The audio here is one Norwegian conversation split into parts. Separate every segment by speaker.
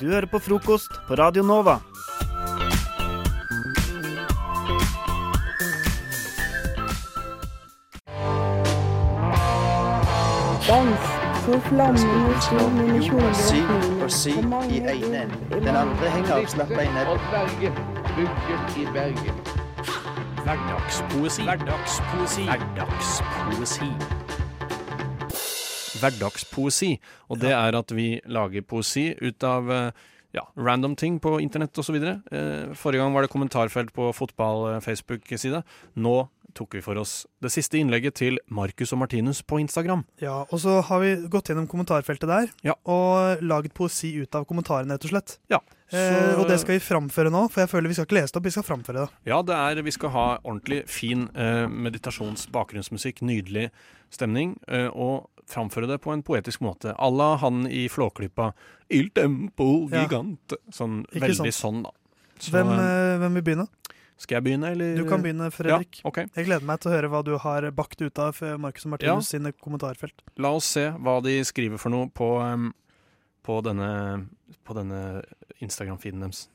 Speaker 1: Du hører på frokost på Radio Nova.
Speaker 2: Dans for flammene sto mine
Speaker 3: Sy
Speaker 2: kjoledraktene.
Speaker 3: og sy i ene enden. Den andre henger avslappa i nebb.
Speaker 4: Hverdagspoesi. Hverdagspoesi. Hverdagspoesi. Hverdagspoesi. Og det er at vi lager poesi ut av eh, ja, random ting på internett osv. Eh, Forrige gang var det kommentarfelt på fotball-Facebook-side. Nå tok vi for oss det siste innlegget til Marcus og Martinus på Instagram.
Speaker 5: Ja, og så har vi gått gjennom kommentarfeltet der,
Speaker 4: Ja.
Speaker 5: og laget poesi ut av kommentarene, rett og slett.
Speaker 4: Ja,
Speaker 5: Eh, og det skal vi framføre nå, for jeg føler vi skal ikke lese det opp, vi skal framføre det.
Speaker 4: Ja, det er, vi skal ha ordentlig fin eh, meditasjonsbakgrunnsmusikk, nydelig stemning, eh, og framføre det på en poetisk måte. À la han i Flåklypa. Il tempo
Speaker 5: Ja.
Speaker 4: gigante. Sånn,
Speaker 5: Ikke
Speaker 4: veldig sånn, da. Så,
Speaker 5: Hvem,
Speaker 4: eh,
Speaker 5: eh, hvem vil begynne?
Speaker 4: skal jeg begynne, eller?
Speaker 5: Du kan begynne, Fredrik.
Speaker 4: Ja, ok.
Speaker 5: Jeg gleder meg til å høre hva du har bakt ut av eh, Marcus og
Speaker 4: Ja.
Speaker 5: Martinus sine kommentarfelt.
Speaker 4: La oss se hva de skriver for noe på, em, på denne, på denne Instagram-feeden deres.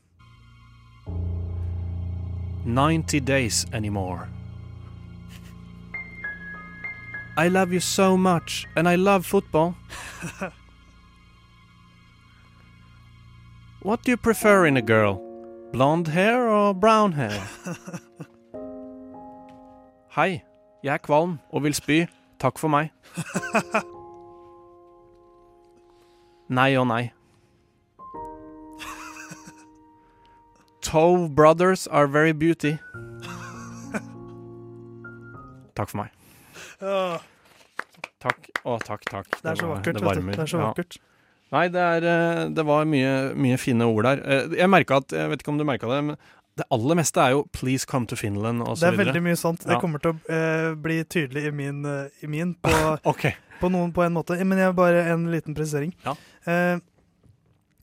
Speaker 4: 90 days anymore. I love you so much, and I love football. What do you prefer in a girl? Blonde hair or brown hair? Hei, jeg er kvalm og vil spy. Takk for meg. Nei og nei. Tove brothers are very beauty. Takk for meg. Takk og takk, takk.
Speaker 5: Det er så
Speaker 4: var-
Speaker 5: vakkert.
Speaker 4: det
Speaker 5: vet du.
Speaker 4: varmer.
Speaker 5: Det er så
Speaker 4: Ja.
Speaker 5: vakkert.
Speaker 4: Nei, det, er, eh, det var mye, mye fine ord der. Eh, Jeg merket at, jeg vet ikke om du merka det, men det aller meste er jo 'please come to Finland'
Speaker 5: Det
Speaker 4: og så
Speaker 5: er veldig
Speaker 4: videre.
Speaker 5: mye sant. Det
Speaker 4: Ja.
Speaker 5: kommer til å eh, bli tydelig i min, eh, i min på,
Speaker 4: Ok.
Speaker 5: på noen på en måte. Men jeg har bare en liten presisering.
Speaker 4: Ja.
Speaker 5: Eh,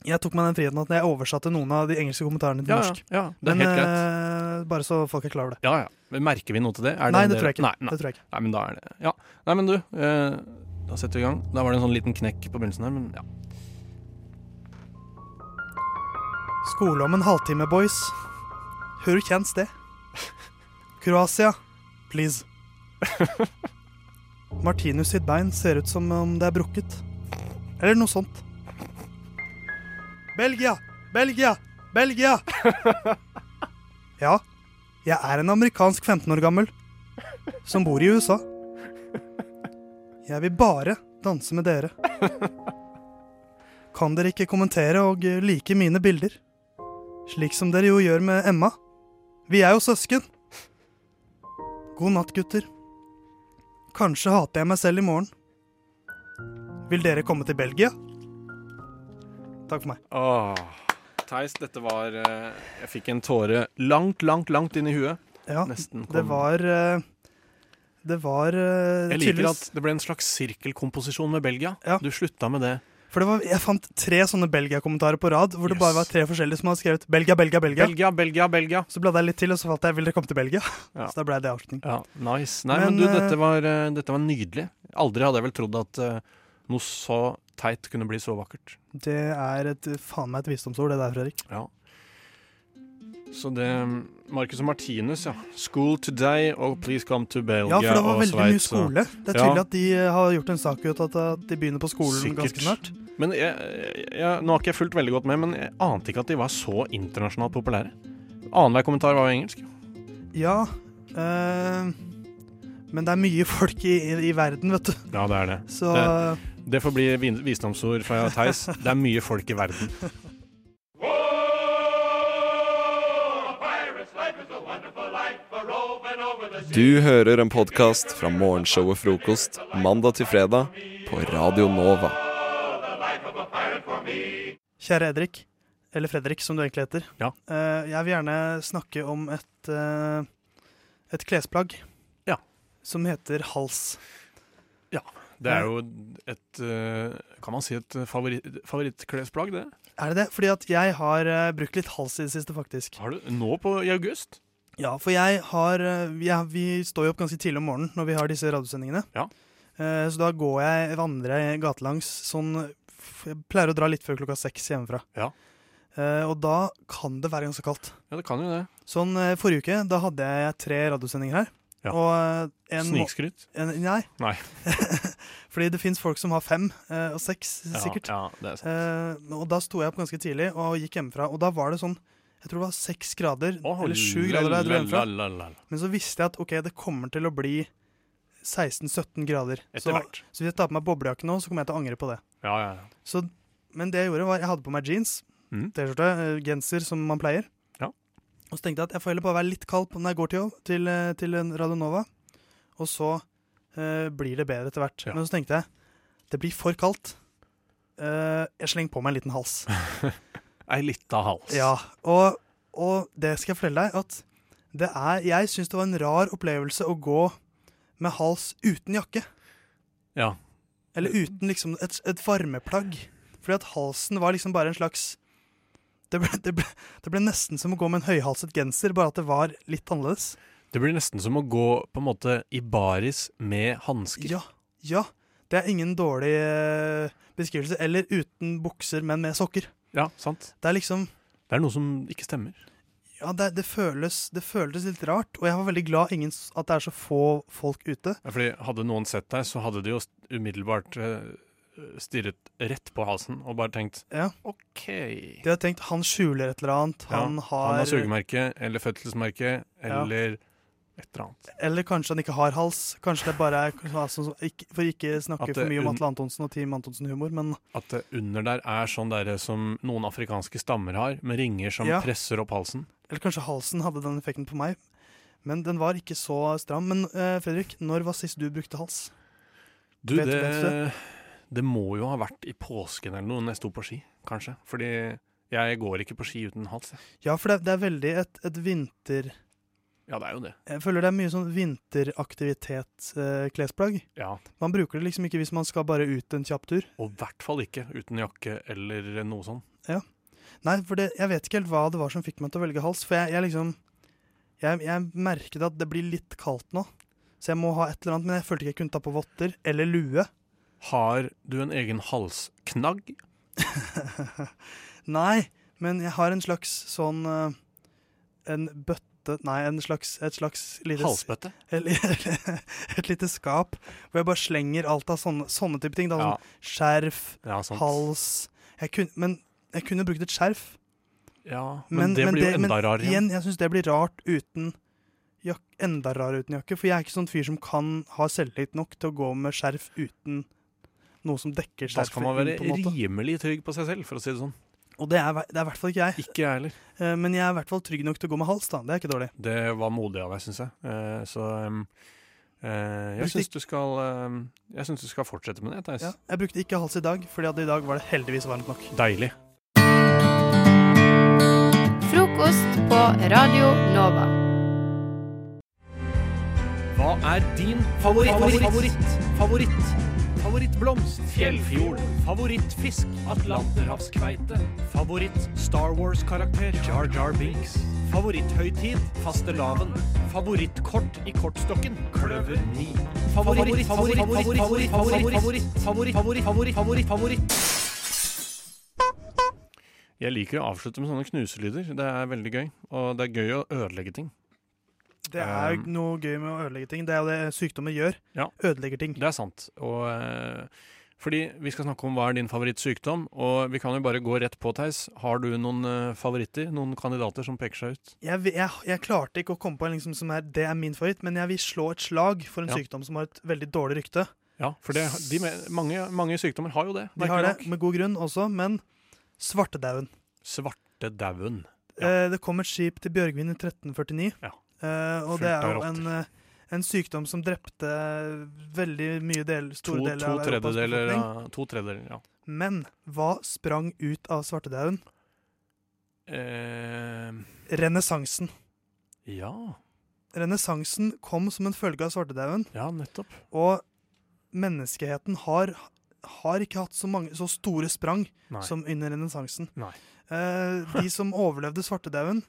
Speaker 5: jeg tok meg den friheten at jeg oversatte noen av de engelske kommentarene til
Speaker 4: Ja, ja,
Speaker 5: norsk.
Speaker 4: ja. Det er
Speaker 5: men
Speaker 4: helt greit.
Speaker 5: eh, bare så folk er klar over det.
Speaker 4: Ja, ja. Men Merker vi noe til det? Er
Speaker 5: Nei,
Speaker 4: en
Speaker 5: det tror
Speaker 4: del-
Speaker 5: jeg ikke.
Speaker 4: Nei, nei.
Speaker 5: Det tror jeg ikke.
Speaker 4: Nei, men da er det Ja. Nei, men du, eh, da setter vi i gang. Da var det en sånn liten knekk på begynnelsen her, men ja.
Speaker 5: Skole om en halvtime, boys. Hvor kjennes det? Kroatia, please. Martinus sitt bein ser ut som om det er brukket. Eller noe sånt. Belgia! Belgia! Belgia! Ja, jeg er en amerikansk 15 år gammel som bor i USA. Jeg vil bare danse med dere. Kan dere ikke kommentere og eh, like mine bilder? Slik som dere jo gjør med Emma. Vi er jo søsken. God natt, gutter. Kanskje hater jeg meg selv i morgen. Vil dere komme til Belgia? Takk for meg.
Speaker 4: Åh. Theis, dette var eh, Jeg fikk en tåre langt, langt, langt inn i huet.
Speaker 5: Ja,
Speaker 4: Nesten kom
Speaker 5: det var eh, Det var eh,
Speaker 4: Jeg liker at
Speaker 5: tydeligvis
Speaker 4: det ble en slags sirkelkomposisjon med Belgia.
Speaker 5: Ja.
Speaker 4: Du slutta med det.
Speaker 5: For det var, jeg fant tre sånne Belgia-kommentarer på rad, hvor det
Speaker 4: Yes.
Speaker 5: bare var tre forskjellige som hadde skrevet 'Belgia, Belgia, Belgia'.
Speaker 4: Belgia, Belgia, Belgia.
Speaker 5: så bladde jeg litt til, og så fant jeg 'Vil dere komme til Belgia?'
Speaker 4: Ja.
Speaker 5: Så da ble det avslutning.
Speaker 4: Ja, nice. Nei,
Speaker 5: Men,
Speaker 4: men, du,
Speaker 5: eh,
Speaker 4: dette var, eh, dette var nydelig. Aldri hadde jeg vel trodd at eh, noe så teit kunne bli så vakkert.
Speaker 5: Det er et, faen meg et visdomsord, det der, Fredrik.
Speaker 4: Ja. Så det Marcus og Martinus, ja. 'School today' og 'Please come to Belgia'
Speaker 5: Ja, for det var
Speaker 4: og
Speaker 5: veldig mye
Speaker 4: Sveits og-
Speaker 5: skole. Det er
Speaker 4: Ja.
Speaker 5: tydelig at de eh, har gjort en sak ut av at de begynner på skolen
Speaker 4: Sikkert.
Speaker 5: ganske snart.
Speaker 4: Men jeg, jeg, jeg, nå har ikke jeg fulgt veldig godt med, men jeg ante ikke at de var så internasjonalt populære. Annenhver kommentar var jo engelsk.
Speaker 5: Ja. eh, men det er mye folk i, i, i verden, vet du.
Speaker 4: Ja, det er det.
Speaker 5: Så
Speaker 4: Det får bli vin- visdomsord fra Theis. Det er mye folk i verden.
Speaker 6: Du hører en podkast fra morgenshow og frokost mandag til fredag på Radio Nova.
Speaker 5: kjære Edrik, eller Fredrik som du egentlig heter.
Speaker 4: Ja.
Speaker 5: eh, jeg vil gjerne snakke om et, eh, et klesplagg
Speaker 4: Ja.
Speaker 5: som heter hals.
Speaker 4: Det er jo et eh, Kan man si et favoritt, favorittklesplagg, det?
Speaker 5: Er det det? Fordi at jeg har eh, brukt litt hals i det siste, faktisk.
Speaker 4: Har du Nå på, i august?
Speaker 5: Ja, for jeg har eh, ja, Vi står jo opp ganske tidlig om morgenen når vi har disse radiosendingene.
Speaker 4: Ja.
Speaker 5: Eh, Så da går jeg, vandrer jeg gatelangs sånn f- Jeg pleier å dra litt før klokka seks hjemmefra.
Speaker 4: Ja.
Speaker 5: Eh, og da kan det være ganske kaldt.
Speaker 4: Ja, det kan jo det.
Speaker 5: Sånn eh, forrige uke, da hadde jeg tre radiosendinger her.
Speaker 4: Ja.
Speaker 5: Og eh, en må-
Speaker 4: Snikskryt.
Speaker 5: en, Nei.
Speaker 4: Nei.
Speaker 5: Fordi det fins folk som har fem eh, og seks,
Speaker 4: Ja,
Speaker 5: sikkert.
Speaker 4: Ja, det er sant.
Speaker 5: Eh, og da sto jeg opp ganske tidlig og gikk hjemmefra, og da var det sånn jeg tror det var seks grader,
Speaker 4: Å,
Speaker 5: eller sju grader da jeg dro hjemmefra.
Speaker 4: lalalala.
Speaker 5: Men så visste jeg at ok, det kommer til å bli 16-17 grader.
Speaker 4: Etter
Speaker 5: Så,
Speaker 4: hvert.
Speaker 5: så hvis jeg tar på meg boblejakke nå, så kommer jeg til å angre på det.
Speaker 4: Ja, ja, ja.
Speaker 5: Så, men det jeg gjorde, var jeg hadde på meg jeans,
Speaker 4: Mm.
Speaker 5: T-skjorte, eh, genser, som man pleier.
Speaker 4: Ja.
Speaker 5: Og så tenkte jeg at jeg får heller bare være litt kald på når jeg går til jobb, til, eh, til en Radio Nova. Og så eh, blir det bedre etter hvert.
Speaker 4: Ja.
Speaker 5: Men så tenkte jeg det blir for kaldt. Eh, jeg slenger på meg en liten hals.
Speaker 4: Ei lita hals.
Speaker 5: Ja, og, og det skal jeg fortelle deg at det er Jeg syns det var en rar opplevelse å gå med hals uten jakke.
Speaker 4: Ja.
Speaker 5: Eller uten liksom et, et varmeplagg. Fordi at halsen var liksom bare en slags det ble, det, ble, det ble nesten som å gå med en høyhalset genser, bare at det var litt annerledes.
Speaker 4: Det blir nesten som å gå på en måte i baris med hansker.
Speaker 5: Ja, ja. Det er ingen dårlig eh, beskrivelse. Eller uten bukser, men med sokker.
Speaker 4: ja, sant.
Speaker 5: Det er liksom
Speaker 4: Det er noe som ikke stemmer.
Speaker 5: Ja, det, det, føles, det føles litt rart. Og jeg var veldig glad ingen, s- at det er så få folk ute.
Speaker 4: Ja, fordi Hadde noen sett deg, så hadde de jo st- umiddelbart eh, stirret rett på halsen og bare tenkt
Speaker 5: Ja.
Speaker 4: OK.
Speaker 5: De har tenkt han skjuler et eller annet.
Speaker 4: Ja,
Speaker 5: Han har,
Speaker 4: Han har sugemerke eller fødselsmerke eller et eller annet.
Speaker 5: Eller kanskje han ikke har hals. Kanskje det bare er altså, så- ikke, For ikke
Speaker 4: At
Speaker 5: snakke
Speaker 4: det
Speaker 5: for mye om
Speaker 4: un-
Speaker 5: Atle Antonsen og Team Antonsen-humor, men
Speaker 4: At det under der er sånn der som noen afrikanske stammer har, med ringer som
Speaker 5: Ja.
Speaker 4: presser opp halsen.
Speaker 5: Eller kanskje halsen hadde den effekten på meg. Men den var ikke så stram. Men eh, Fredrik, når var sist du brukte hals?
Speaker 4: Du,
Speaker 5: Vet-
Speaker 4: det,
Speaker 5: vet
Speaker 4: det må jo ha vært i påsken eller noe, når jeg sto på ski, kanskje. Fordi jeg går ikke på ski uten hals. Jeg.
Speaker 5: Ja, for det, det er veldig et, et vinter...
Speaker 4: Ja, det er jo det.
Speaker 5: Jeg føler det er mye sånn vinteraktivitet-klesplagg.
Speaker 4: Ja.
Speaker 5: man bruker det liksom ikke hvis man skal bare ut en kjapp tur.
Speaker 4: Og i hvert fall ikke uten jakke eller noe sånn.
Speaker 5: Nei, for det, jeg vet ikke helt hva det var som fikk meg til å velge hals. For jeg, jeg liksom jeg, jeg merket at det blir litt kaldt nå, så jeg må ha et eller annet. Men jeg følte ikke jeg kunne ta på votter eller lue.
Speaker 4: Har du en egen halsknagg?
Speaker 5: Nei, men jeg har en slags sånn eh, En bøtte Nei, en slags, et slags lite
Speaker 4: Halsbøtte?
Speaker 5: eller- Et lite skap hvor jeg bare slenger alt av sånne, sånne type ting. Da,
Speaker 4: Ja,
Speaker 5: sånn skjerf,
Speaker 4: ja, sant.
Speaker 5: hals jeg kunne, Men jeg kunne brukt et skjerf.
Speaker 4: Ja, men, det blir jo
Speaker 5: men
Speaker 4: enda rarere. igjen.
Speaker 5: Igjen, jeg syns det blir rart uten jak enda rarere uten jakke. For jeg er ikke sånn fyr som kan ha selvtillit nok til å gå med skjerf uten noe som dekker
Speaker 4: Da skal man
Speaker 5: skjerfet.
Speaker 4: være
Speaker 5: inn, på en måte.
Speaker 4: rimelig trygg på seg selv, for å si det sånn.
Speaker 5: Og det er i hver- det er i hvert fall ikke jeg.
Speaker 4: Ikke jeg heller.
Speaker 5: Eh, Men jeg er i hvert fall trygg nok til å gå med hals. da, Det er ikke dårlig.
Speaker 4: Det var modig av deg, syns jeg. Eh, så em, eh, jeg
Speaker 5: Brukte
Speaker 4: syns du skal em, Jeg synes du skal fortsette med det, Theis.
Speaker 5: Ja. Jeg brukte ikke hals i dag, fordi at i dag var det heldigvis varmt nok.
Speaker 4: Deilig.
Speaker 7: Frokost på Radio Nova.
Speaker 4: Hva er din favoritt? Favoritt? Favoritt? favoritt? Favorittblomst? Fjellfjord? Favorittfisk? Atlanterhavskveite? Favoritt Star Wars-karakter? Jar Jar Binks? Favoritthøytid? Fastelavn? Favorittkort i kortstokken? Kløver 9. Favoritt, favoritt, favoritt, favoritt, favoritt, favoritt, favoritt, favoritt, favoritt, favoritt, favoritt. Jeg liker å avslutte med sånne knuselyder. Det er veldig gøy. Og det er gøy å ødelegge ting.
Speaker 5: Det er jo
Speaker 4: Um,
Speaker 5: noe gøy med å ødelegge ting. Det er jo det sykdommer gjør.
Speaker 4: Ja.
Speaker 5: Ødelegger ting.
Speaker 4: Det er sant. Og, eh, fordi vi skal snakke om hva er din favorittsykdom, og vi kan jo bare gå rett på, Theis. Har du noen eh, favoritter? Noen kandidater som peker seg ut?
Speaker 5: Jeg, vi- jeg, jeg klarte ikke å komme på en liksom som er, det er min favoritt, men jeg vil slå et slag for en
Speaker 4: Ja.
Speaker 5: sykdom som har et veldig dårlig rykte.
Speaker 4: Ja, for det, de, me- mange, mange sykdommer har jo det.
Speaker 5: De har det,
Speaker 4: merkelig nok.
Speaker 5: med god grunn også, men svartedauden.
Speaker 4: Svartedauden.
Speaker 5: Eh, det kom et skip til Bjørgvin i 1349,
Speaker 4: Ja.
Speaker 5: eh, og
Speaker 4: Fullt
Speaker 5: det er
Speaker 4: av
Speaker 5: jo en, eh, en sykdom som drepte veldig mye del,
Speaker 4: To,
Speaker 5: store
Speaker 4: to,
Speaker 5: deler av Europas
Speaker 4: tredjedeler,
Speaker 5: befolkning.
Speaker 4: av- to tredjedeler, ja.
Speaker 5: Men hva sprang ut av svartedauden?
Speaker 4: Eh,
Speaker 5: Renessansen.
Speaker 4: ja.
Speaker 5: Renessansen kom som en følge av svartedauden,
Speaker 4: ja, nettopp.
Speaker 5: og menneskeheten har, har ikke hatt så, mange, så store sprang
Speaker 4: Nei.
Speaker 5: som under renessansen.
Speaker 4: Nei.
Speaker 5: Eh, de som overlevde svartedauden,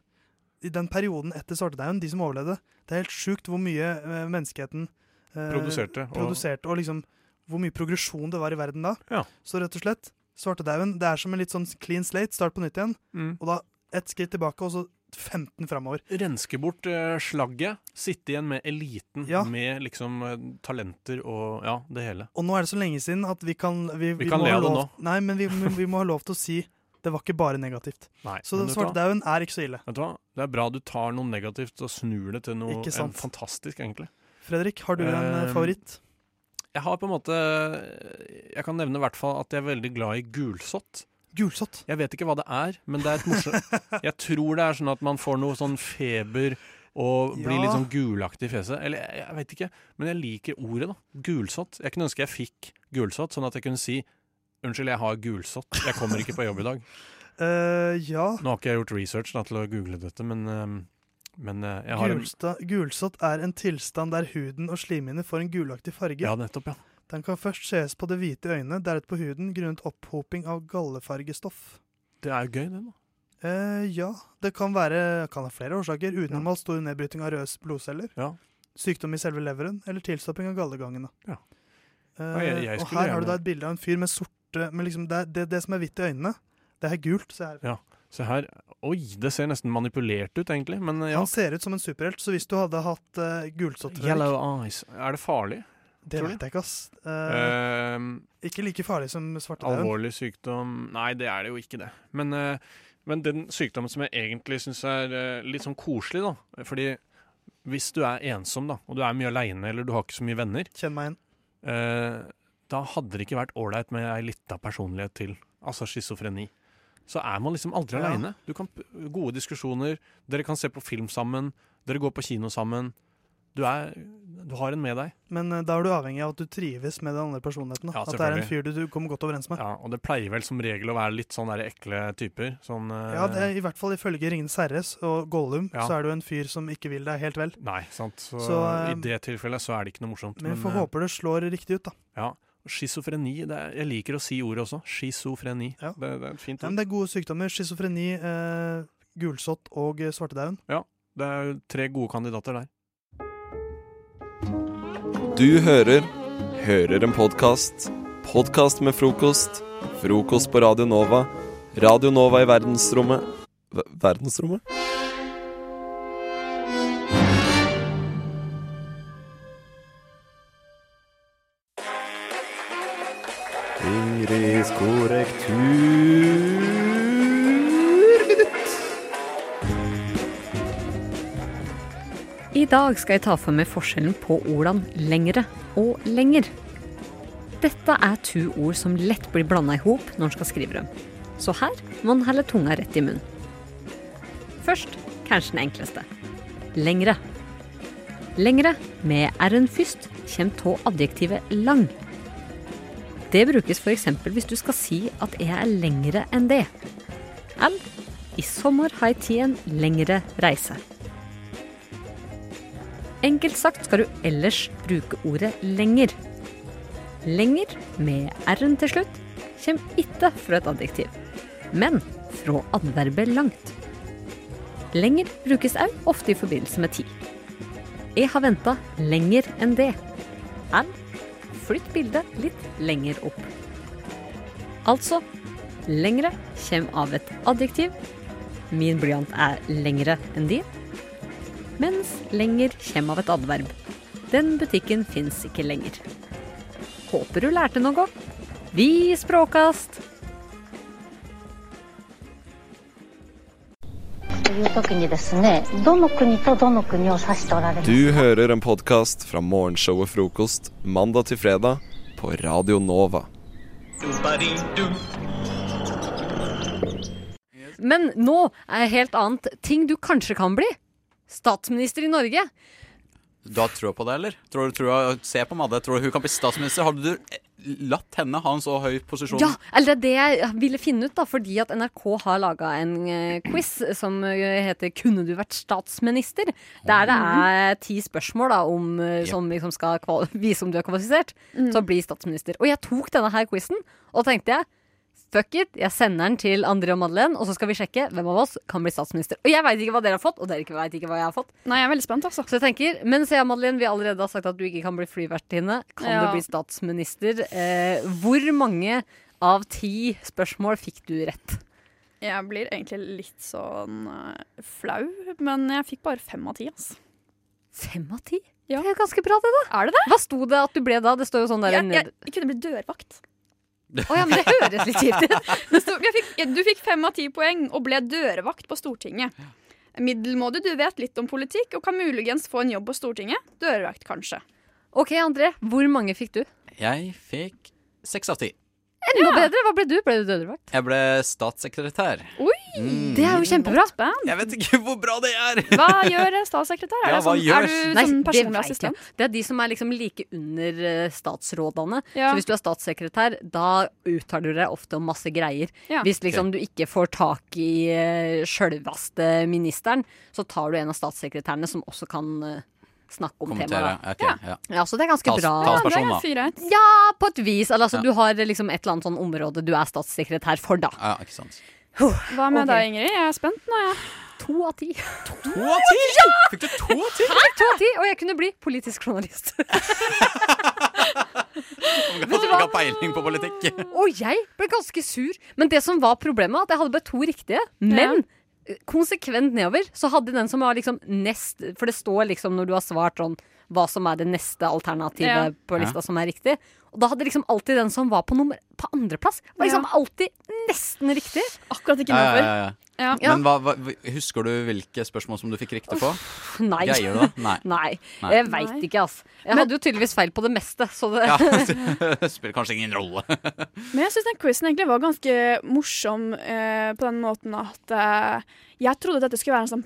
Speaker 5: i den perioden etter svartedauden, de som overlevde, det er helt sjukt hvor mye eh, menneskeheten eh,
Speaker 4: Produserte. Og,
Speaker 5: produserte, og liksom hvor mye progresjon det var i verden da.
Speaker 4: Ja.
Speaker 5: Så rett og slett, svartedauden, det er som en litt sånn clean slate, start på nytt igjen,
Speaker 4: Mm.
Speaker 5: og da ett skritt tilbake, og så 15 framover.
Speaker 4: Renske bort eh, slagget, sitte igjen med eliten,
Speaker 5: Ja.
Speaker 4: med liksom eh, talenter og ja, det hele.
Speaker 5: Og nå er det så lenge siden at vi kan Vi,
Speaker 4: Vi kan
Speaker 5: må
Speaker 4: le
Speaker 5: ha
Speaker 4: av det
Speaker 5: lov, Nei, men vi, vi, vi må ha lov til å si det var ikke bare negativt.
Speaker 4: Nei,
Speaker 5: Så
Speaker 4: men vet du hva?
Speaker 5: svartedauden er ikke så ille.
Speaker 4: Vet du hva? Det er bra du tar noe negativt og snur det til noe
Speaker 5: Ikke sant.
Speaker 4: en fantastisk, egentlig.
Speaker 5: Fredrik, har du en eh,
Speaker 4: Eh,
Speaker 5: favoritt?
Speaker 4: Jeg har på en måte Jeg kan nevne i hvert fall at jeg er veldig glad i gulsott.
Speaker 5: Gulsott.
Speaker 4: Jeg vet ikke hva det er, men det er et morsomt Jeg tror det er sånn at man får noe sånn feber og blir
Speaker 5: Ja.
Speaker 4: litt sånn gulaktig i fjeset. Eller jeg, jeg vet ikke, men jeg liker ordet, da. Gulsott. Jeg kunne ønske jeg fikk gulsott, sånn at jeg kunne si Unnskyld, jeg har gulsott. Jeg kommer ikke på jobb i dag.
Speaker 5: Eh, ja.
Speaker 4: Nå har ikke jeg gjort research da, til å google dette, men, ehm, men eh, jeg har en
Speaker 5: Gulsta, gulsott er en tilstand der huden og slimhinner får en gulaktig farge.
Speaker 4: Ja, nettopp, ja.
Speaker 5: Den kan først ses på det hvite i øynene, deretter på huden grunnet opphoping av gallefargestoff.
Speaker 4: Det er jo gøy, det, da.
Speaker 5: Eh, ja, det kan være kan ha flere årsaker. Unormalt stor nedbryting av røde blodceller.
Speaker 4: Ja.
Speaker 5: Sykdom i selve leveren eller tilstopping av gallegangene.
Speaker 4: Ja.
Speaker 5: Eh,
Speaker 4: jeg- jeg
Speaker 5: og
Speaker 4: skulle
Speaker 5: her har
Speaker 4: gjerne-
Speaker 5: du da et bilde av en fyr med sorte men liksom det, er- det, det som er hvitt i øynene, det er gult. Så er,
Speaker 4: Se her. Oi, det ser nesten manipulert ut, egentlig. Men eh, ja.
Speaker 5: Han ser ut som en superhelt, så hvis du hadde hatt uh, gulsott Fredrik,
Speaker 4: Yellow eyes. eh, Er det farlig?
Speaker 5: Det
Speaker 4: tror
Speaker 5: vet jeg ikke, ass. Eh,
Speaker 4: Ehm,
Speaker 5: ikke like farlig som svartedauden.
Speaker 4: alvorlig sykdom Nei, det er det jo ikke, det. Men, eh, men den sykdommen som jeg egentlig syns er eh, litt sånn koselig, da. Fordi hvis du er ensom, da, og du er mye aleine, eller du har ikke så mye venner,
Speaker 5: Kjenn meg igjen.
Speaker 4: eh, da hadde det ikke vært ålreit med ei lita personlighet til. Altså schizofreni. Så er man liksom aldri
Speaker 5: Ja.
Speaker 4: aleine. Du kan p- Gode diskusjoner, dere kan se på film sammen, dere går på kino sammen. Du, er, du har en med deg.
Speaker 5: Men eh, da er du avhengig av at du trives med den andre personligheten. Da.
Speaker 4: Ja,
Speaker 5: at det er en
Speaker 4: selvfølgelig.
Speaker 5: fyr du, du kommer godt overens med. Ja,
Speaker 4: Ja, og det pleier vel som regel å være litt sånn der ekle typer. Sånn eh,
Speaker 5: det er, I hvert fall ifølge Ringenes herres og Gollum,
Speaker 4: Ja.
Speaker 5: så er du en fyr som ikke vil deg helt vel.
Speaker 4: Nei, sant. Så,
Speaker 5: Så, eh,
Speaker 4: i det tilfellet så er det ikke noe morsomt.
Speaker 5: Men vi får
Speaker 4: eh,
Speaker 5: håpe det slår riktig ut, da.
Speaker 4: schizofreni det er, Jeg liker å si ordet også. Schizofreni.
Speaker 5: Ja.
Speaker 4: Det, det er et fint
Speaker 5: Ja,
Speaker 4: ord.
Speaker 5: men det er gode sykdommer. Schizofreni, eh, gulsott og eh, svartedauden.
Speaker 4: Det er jo tre gode kandidater der.
Speaker 6: Du hører Hører en podkast. Podkast med frokost. Frokost på Radio Nova. Radio Nova i verdensrommet Ver- Verdensrommet?
Speaker 8: Ingrids korrekturminutt.
Speaker 9: I dag skal jeg ta for meg forskjellen på ordene lengre og lenger. Dette er to ord som lett blir blanda i hop når en skal skrive dem. Så her må en helle tunga rett i munnen. Først kanskje den enkleste. Lengre. Lengre, med r-en først, kommer av adjektivet lang. Det brukes f.eks. hvis du skal si at jeg er lengre enn det. Eller i sommer har jeg tatt en lengre reise. Enkelt sagt skal du ellers bruke ordet lenger. Lenger, med r-en til slutt, kommer ikke fra et adjektiv, men fra adverbet langt. Lenger brukes òg ofte i forbindelse med tid. Jeg har venta lenger enn det. Eller flytt bildet litt lenger opp. Altså lengre kommer av et adjektiv. Min blyant er lengre enn din mens lenger kommer av et adverb. Den butikken fins ikke lenger. Håper du lærte noe. Vi språkkast!
Speaker 6: Du hører en podkast fra morgenshowet Frokost mandag til fredag på Radio Nova.
Speaker 9: Men nå er jeg helt annet. Ting du kanskje kan bli. Statsminister i Norge.
Speaker 10: Du har trua på det, eller? Tror du, tror du, se på Madde. Tror du hun kan bli statsminister? Hadde du eh, latt henne ha en så høy posisjon?
Speaker 9: Ja, eller det er det jeg ville finne ut, da, fordi at NRK har laga en eh, quiz som eh, heter 'Kunne du vært statsminister?', der det er ti spørsmål da, om, eh, som liksom skal kval vise om du er kvalifisert til å bli statsminister. Og jeg tok denne her quizen, og tenkte jeg Fuck it, jeg sender den til André og Madeleine, og så skal vi sjekke hvem av oss kan bli statsminister. Og jeg veit ikke hva dere har fått, og dere veit ikke hva jeg har fått.
Speaker 11: Nei, jeg er veldig spent, altså.
Speaker 9: Så jeg tenker, mens jeg og Madeleine vi allerede har sagt at du ikke kan bli flyvertinne, kan
Speaker 11: Ja.
Speaker 9: du bli statsminister? Eh, hvor mange av ti spørsmål fikk du rett.
Speaker 11: Jeg blir egentlig litt sånn eh, flau, men jeg fikk bare fem av ti. Altså.
Speaker 9: Fem av ti? Det er ganske bra, det, da.
Speaker 11: Er det det?
Speaker 9: Hva sto det at du ble da? Det står jo sånn der
Speaker 11: Jeg, jeg,
Speaker 9: ned...
Speaker 11: jeg kunne blitt dørvakt.
Speaker 9: Å ja, men det høres litt kjipt ut.
Speaker 11: Det sto- jeg fikk, jeg- du fikk fem av ti poeng og ble dørvakt på Stortinget. Middelmådig, du vet litt om politikk og kan muligens få en jobb på Stortinget. Dørvakt, kanskje.
Speaker 9: OK, André. Hvor mange fikk du?
Speaker 10: Jeg fikk seks av ti.
Speaker 9: Enda bedre! Hva ble du? Ble du dødrevakt?
Speaker 10: Jeg ble statssekretær.
Speaker 11: Oi!
Speaker 10: Mm.
Speaker 9: Det er jo kjempebra.
Speaker 10: Jeg vet ikke hvor bra det er!
Speaker 11: Hva gjør statssekretær? Er,
Speaker 10: Ja,
Speaker 11: det
Speaker 10: hva
Speaker 11: sånn,
Speaker 10: gjør-
Speaker 11: er du
Speaker 9: Nei,
Speaker 11: sånn
Speaker 9: det
Speaker 11: personlig
Speaker 9: vet jeg
Speaker 11: assistent?
Speaker 9: ikke. Det er de som er liksom like under eh, statsrådene.
Speaker 11: Ja.
Speaker 9: Så hvis du er statssekretær, da uttaler du deg ofte om masse greier.
Speaker 11: Ja.
Speaker 9: Hvis liksom du ikke får tak i uh, sjølveste ministeren, så tar du en av statssekretærene som også kan eh, snakke om
Speaker 10: Kommentere.
Speaker 9: temaet. da.
Speaker 10: Ja, ok, ja.
Speaker 9: Ja, så det er ganske
Speaker 10: Tals-
Speaker 9: bra.
Speaker 10: talsperson, da.
Speaker 9: Ja, på et vis. Eller, altså,
Speaker 10: Ja.
Speaker 9: Du har eh, liksom et eller annet sånn område du er statssekretær for, da.
Speaker 10: Ja, ikke sant.
Speaker 11: Hva med
Speaker 9: Ok.
Speaker 11: deg, Ingrid? Jeg er spent nå, jeg.
Speaker 9: To av ti.
Speaker 10: To av ti! Fikk du to av ti?
Speaker 9: To av ti, Og jeg kunne bli politisk journalist.
Speaker 10: Vet du hva? Ikke har peiling på politikk.
Speaker 9: Og jeg ble ganske sur. Men det som var problemet, var at jeg hadde bare to riktige. Men eh, konsekvent nedover så hadde den som var liksom nest For det står liksom når du har svart sånn hva som er det neste alternativet
Speaker 11: Ja.
Speaker 9: på lista
Speaker 10: Ja.
Speaker 9: som er riktig. Og da hadde liksom alltid den som var på, nummer, på andreplass, var liksom alltid nesten riktig.
Speaker 11: Akkurat ikke
Speaker 10: Ja, ja,
Speaker 11: nedover.
Speaker 10: ja, ja.
Speaker 11: Ja.
Speaker 10: Men hva, hva, husker du hvilke spørsmål som du fikk riktig på?
Speaker 9: Pff, Nei.
Speaker 10: Greier du det? Nei.
Speaker 9: Nei.
Speaker 10: Nei.
Speaker 9: Jeg veit
Speaker 11: Nei.
Speaker 9: ikke, ass. Jeg hadde jo tydeligvis feil på det meste, så det
Speaker 10: Ja, det spiller kanskje ingen rolle.
Speaker 11: Men jeg syns den quizen egentlig var ganske morsom eh, på den måten at eh, jeg trodde dette skulle være en sånn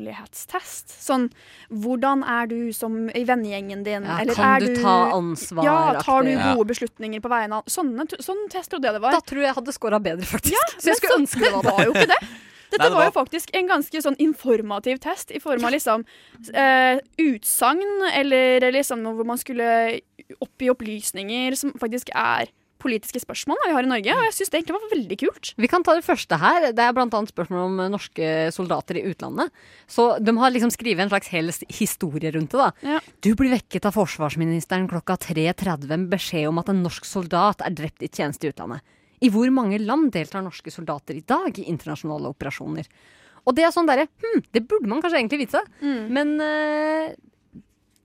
Speaker 11: personlighetstest. Sånn hvordan er du som i vennegjengen din?
Speaker 9: ja,
Speaker 11: Eller
Speaker 9: Kan
Speaker 11: er
Speaker 9: du ta ansvar?
Speaker 11: Ja, tar du
Speaker 9: aktig?
Speaker 10: Ja.
Speaker 11: gode beslutninger på vegne av Sånne, t- Sånn test trodde jeg det
Speaker 9: Da
Speaker 11: var.
Speaker 9: tror jeg jeg hadde scora bedre, faktisk. så
Speaker 11: men
Speaker 9: jeg skulle
Speaker 11: så-
Speaker 9: ønske det var det.
Speaker 11: var jo ikke det. Dette
Speaker 10: Nei, det
Speaker 11: var...
Speaker 10: var-
Speaker 11: jo faktisk en ganske sånn informativ test i form av liksom eh, utsagn, eller liksom noe hvor man skulle oppgi opplysninger som faktisk er politiske spørsmål da, vi har i Norge. Og jeg syns det egentlig var veldig kult.
Speaker 9: Vi kan ta det første her. Det er bl.a. spørsmål om eh, norske soldater i utlandet. Så de har liksom skrevet en slags hel s- historie rundt det, da.
Speaker 11: Ja.
Speaker 9: Du blir vekket av forsvarsministeren klokka 3.30 med beskjed om at en norsk soldat er drept i tjeneste i utlandet. I hvor mange land deltar norske soldater i dag i internasjonale operasjoner? Og det er sånn derre Hm, det burde man kanskje egentlig vite.
Speaker 11: Mm.
Speaker 9: Men eh,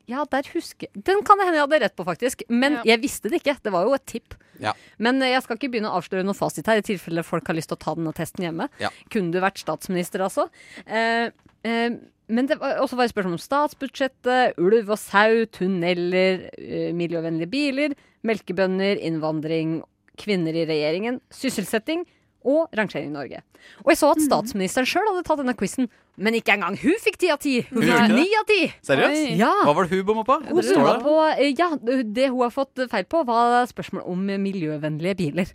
Speaker 9: ja, der husker Den kan det hende jeg hadde rett på, faktisk. Men
Speaker 11: Ja.
Speaker 9: jeg visste det ikke. Det var jo et tipp.
Speaker 10: Ja.
Speaker 9: Men eh, jeg skal ikke begynne å avsløre noe fasit her, i tilfelle folk har lyst til å ta denne testen hjemme.
Speaker 10: Ja.
Speaker 9: Kunne du vært statsminister, altså? Eh, eh, men det var også var det spørsmål om statsbudsjettet, ulv og sau, tunneler, eh, miljøvennlige biler, melkebønder, innvandring, kvinner i regjeringen, sysselsetting og rangering i Norge. Og jeg så at statsministeren sjøl hadde tatt denne quizen, men ikke engang hun fikk ti av ti! Hun
Speaker 10: gjorde
Speaker 9: fikk
Speaker 10: ikke
Speaker 9: ni av ti!
Speaker 10: Seriøst?
Speaker 11: Oi.
Speaker 9: Ja.
Speaker 10: Hva var det hun bomma på?
Speaker 9: Hun
Speaker 10: Står
Speaker 9: bomma
Speaker 10: det?
Speaker 9: på, eh, ja, det hun har fått feil på, var spørsmål om miljøvennlige biler.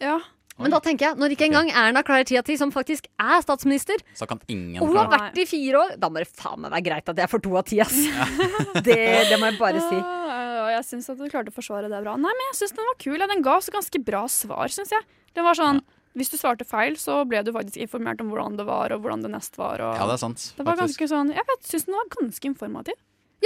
Speaker 11: Ja.
Speaker 9: Men da tenker jeg, når ikke engang Erna klarer ti av ti, som faktisk er statsminister,
Speaker 10: Så kan ingen
Speaker 9: og hun har
Speaker 10: klare det.
Speaker 9: vært i fire år, da må det faen meg være greit at jeg får to av ti, ass. Det, det må jeg bare si.
Speaker 11: Ja, Ah, og jeg syns at du klarte å forsvare det bra. Nei, men jeg syns den var kul. ja. Den ga også ganske bra svar, syns jeg. Den var sånn Hvis du svarte feil, så ble du faktisk informert om hvordan det var, og hvordan det neste var. Og
Speaker 10: Ja, det er sant.
Speaker 11: det var
Speaker 10: faktisk.
Speaker 11: ganske sånn Jeg vet, syns den var ganske informativ.